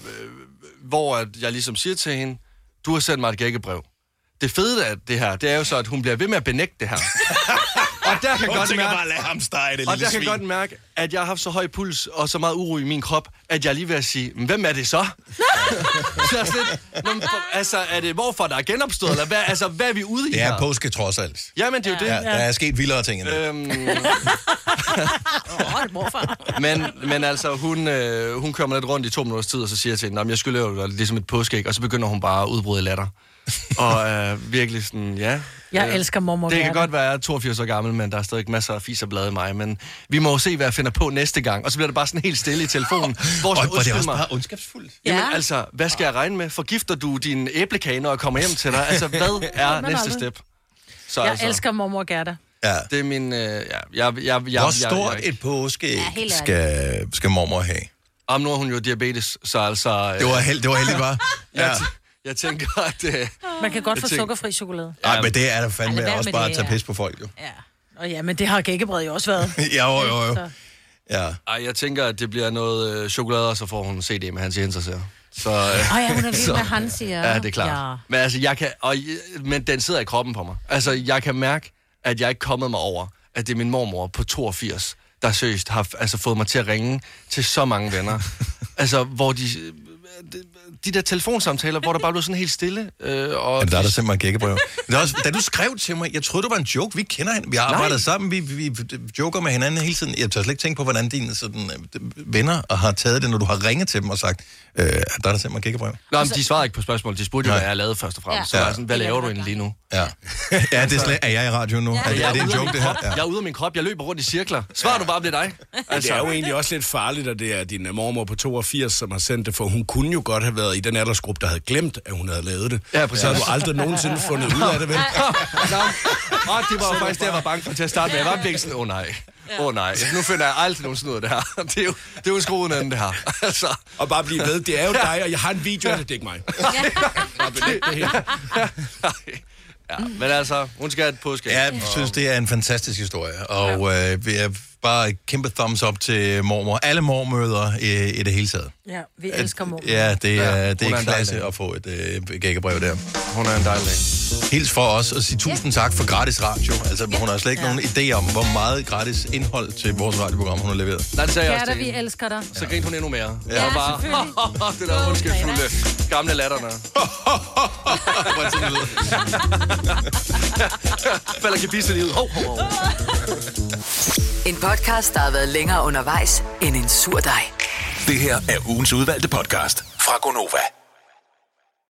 Speaker 2: hvor at jeg ligesom siger til hende, du har sendt mig et gækkebrev. Det fede af det her, det er jo så, at hun bliver ved med at benægte det her. og der kan
Speaker 1: Hun
Speaker 2: godt
Speaker 1: tænker
Speaker 2: mærke,
Speaker 1: bare, "Lad ham stege, det
Speaker 2: Og
Speaker 1: lille
Speaker 2: der kan
Speaker 1: svin."
Speaker 2: godt mærke, at jeg har haft så høj puls og så meget uro i min krop, at jeg er lige ved at sige, "Men hvem er det så? så jeg er sådan lidt, "Nå, men for- altså, er det hvorfor, der er genopstået? Eller hvad, altså, hvad er vi ude i
Speaker 1: Det er
Speaker 2: her?
Speaker 1: påske trods alt.
Speaker 2: Jamen, det er jo det.
Speaker 1: Ja, der er sket vildere ting end det.
Speaker 2: Øhm, men, men altså, hun, øh, hun kører mig lidt rundt i to minutters tid, og så siger jeg til hende, "Nå, men jeg skylder jo dig ligesom et påskæg, og så begynder hun bare at udbryde i latter. og øh, virkelig sådan, ja.
Speaker 7: Jeg elsker mormor
Speaker 2: Det kan
Speaker 7: Gerda.
Speaker 2: godt være, at jeg er 82 år gammel, men der er stadig masser af fis og blade i mig, men vi må jo se, hvad jeg finder på næste gang. Og så bliver det bare sådan helt stille i telefonen. Hvor
Speaker 1: Og- og
Speaker 2: sådan,
Speaker 1: det er
Speaker 2: "Undskyld
Speaker 1: også
Speaker 2: mig."
Speaker 1: bare ondskabsfuldt.
Speaker 2: Jamen
Speaker 1: Ja.
Speaker 2: altså, hvad skal jeg regne med? Forgifter du din æblekage, når jeg kommer hjem til dig? Altså, hvad er
Speaker 7: Hvad med
Speaker 2: næste
Speaker 7: noget?
Speaker 2: step? Så altså,
Speaker 7: Jeg elsker mormor Gerda.
Speaker 1: Ja.
Speaker 2: Det er min... Øh, ja, jeg, jeg, jeg,
Speaker 1: Hvor
Speaker 2: jeg,
Speaker 1: stort
Speaker 2: jeg, jeg,
Speaker 1: et påskeæg
Speaker 2: Ja, helt ærligt.
Speaker 1: skal, skal mormor have?
Speaker 2: Om nu har hun jo diabetes, så altså... øh,
Speaker 1: Det var held- det var heldigt, hva'?
Speaker 2: Ja.
Speaker 1: Ja.
Speaker 2: Jeg, t- jeg tænker, at... Øh,
Speaker 7: Man kan godt
Speaker 2: jeg
Speaker 7: få
Speaker 2: tænker-
Speaker 7: sukkerfri chokolade.
Speaker 1: Nej, men det er da
Speaker 7: Ej, lad
Speaker 1: fandme
Speaker 7: være
Speaker 1: også
Speaker 7: med
Speaker 1: bare
Speaker 7: det,
Speaker 1: at tage
Speaker 7: ja.
Speaker 1: pis på folk, jo.
Speaker 7: Og ja, men det har gækkebrevet jo også været.
Speaker 1: Ja, jo, jo, jo.
Speaker 7: Så-
Speaker 1: Ja.
Speaker 2: Ej, jeg tænker, at det bliver noget øh, chokolade, og så får hun en CD med hans Jens her. Så, øh,
Speaker 12: Åh ja, hun er vild
Speaker 2: så-
Speaker 12: med han, siger.
Speaker 2: Ja, det er klart. Ja. Men, altså, jeg kan, og, jeg- men den sidder i kroppen på mig. Altså, jeg kan mærke, at jeg ikke er kommet mig over, at det er min mormor på 82, der seriøst har altså, fået mig til at ringe til så mange venner. altså, hvor de... De der telefonsamtaler, hvor der bare blev sådan helt stille. Øh, og
Speaker 1: Jamen, der er der simpelthen gækkebrev. Det er også, da du skrev til mig, jeg troede, det var en joke. Vi kender hinanden. Vi har
Speaker 2: Nej.
Speaker 1: arbejdet sammen. Vi, vi, vi joker med hinanden hele tiden. Jeg tør slet ikke tænke på, hvordan dine sådan, øh, venner har taget det, når du har ringet til dem og sagt, øh, der er der simpelthen gækkebrev.
Speaker 2: Nå, men de svarede ikke på spørgsmålet. De spurgte jo,
Speaker 1: Nej.
Speaker 2: hvad jeg lavede først og fremmest.
Speaker 1: Ja.
Speaker 2: Ja. Så var
Speaker 1: Ja.
Speaker 2: jeg sådan, hvad laver du egentlig lige nu?
Speaker 1: Ja. ja, det er, slet, er jeg i radioen nu? Ja. Er, det, er det en joke, det her?
Speaker 2: Ja. Jeg er ude af min krop, jeg løber rundt i cirkler. Svar du bare, om det er dig.
Speaker 14: Altså. Det er jo egentlig også lidt farligt, at det er din øh, mormor på 82, som har sendt det, for hun kunne jo godt have været i den aldersgruppe, der havde glemt, at hun havde lavet det.
Speaker 2: Ja, præcis.
Speaker 14: Så har du aldrig nogensinde fundet ud af det, vel?
Speaker 2: Nå, og det var jo faktisk det, jeg var bange for til at starte med. Jeg var virkelig sådan, åh oh, nej, åh oh, nej. Nu finder jeg aldrig nogensinde ud af det her. Det er jo, det er jo skruen af det her. Altså.
Speaker 14: Og bare blive ved, det er jo dig, og jeg har en video af det, det er ikke mig.
Speaker 2: Ja, men altså, hun skal have et påske.
Speaker 1: Ja, jeg synes, det er en fantastisk historie, og øh, jeg bare et kæmpe thumbs up til mormor. Alle mormøder i, i det hele taget.
Speaker 7: Ja, vi elsker mor.
Speaker 1: Ja, det er, ja, det
Speaker 2: hun
Speaker 1: er
Speaker 2: er en
Speaker 1: klasse at få et øh, gækkebrev der. Hun er en dejlig Hils for os og sige tusind tak for gratis radio. Altså, hun har slet ikke nogen idé om, hvor meget gratis indhold til vores radioprogram, hun har leveret.
Speaker 2: Nej, det sagde jeg også
Speaker 12: Kærter,
Speaker 2: til
Speaker 12: vi
Speaker 2: hende.
Speaker 12: elsker dig.
Speaker 2: Så grinte hun endnu mere.
Speaker 1: Ja.
Speaker 2: Ja,
Speaker 9: 啊
Speaker 12: Ja,
Speaker 2: og bare,
Speaker 12: selvfølgelig.
Speaker 2: det der ondskabsfulde gamle latter der. Falder gebisse lige ud. Hov, hov, hov.
Speaker 5: En podcast, der har været længere undervejs end en sur dej.
Speaker 13: Det her er ugens udvalgte podcast fra Gonova.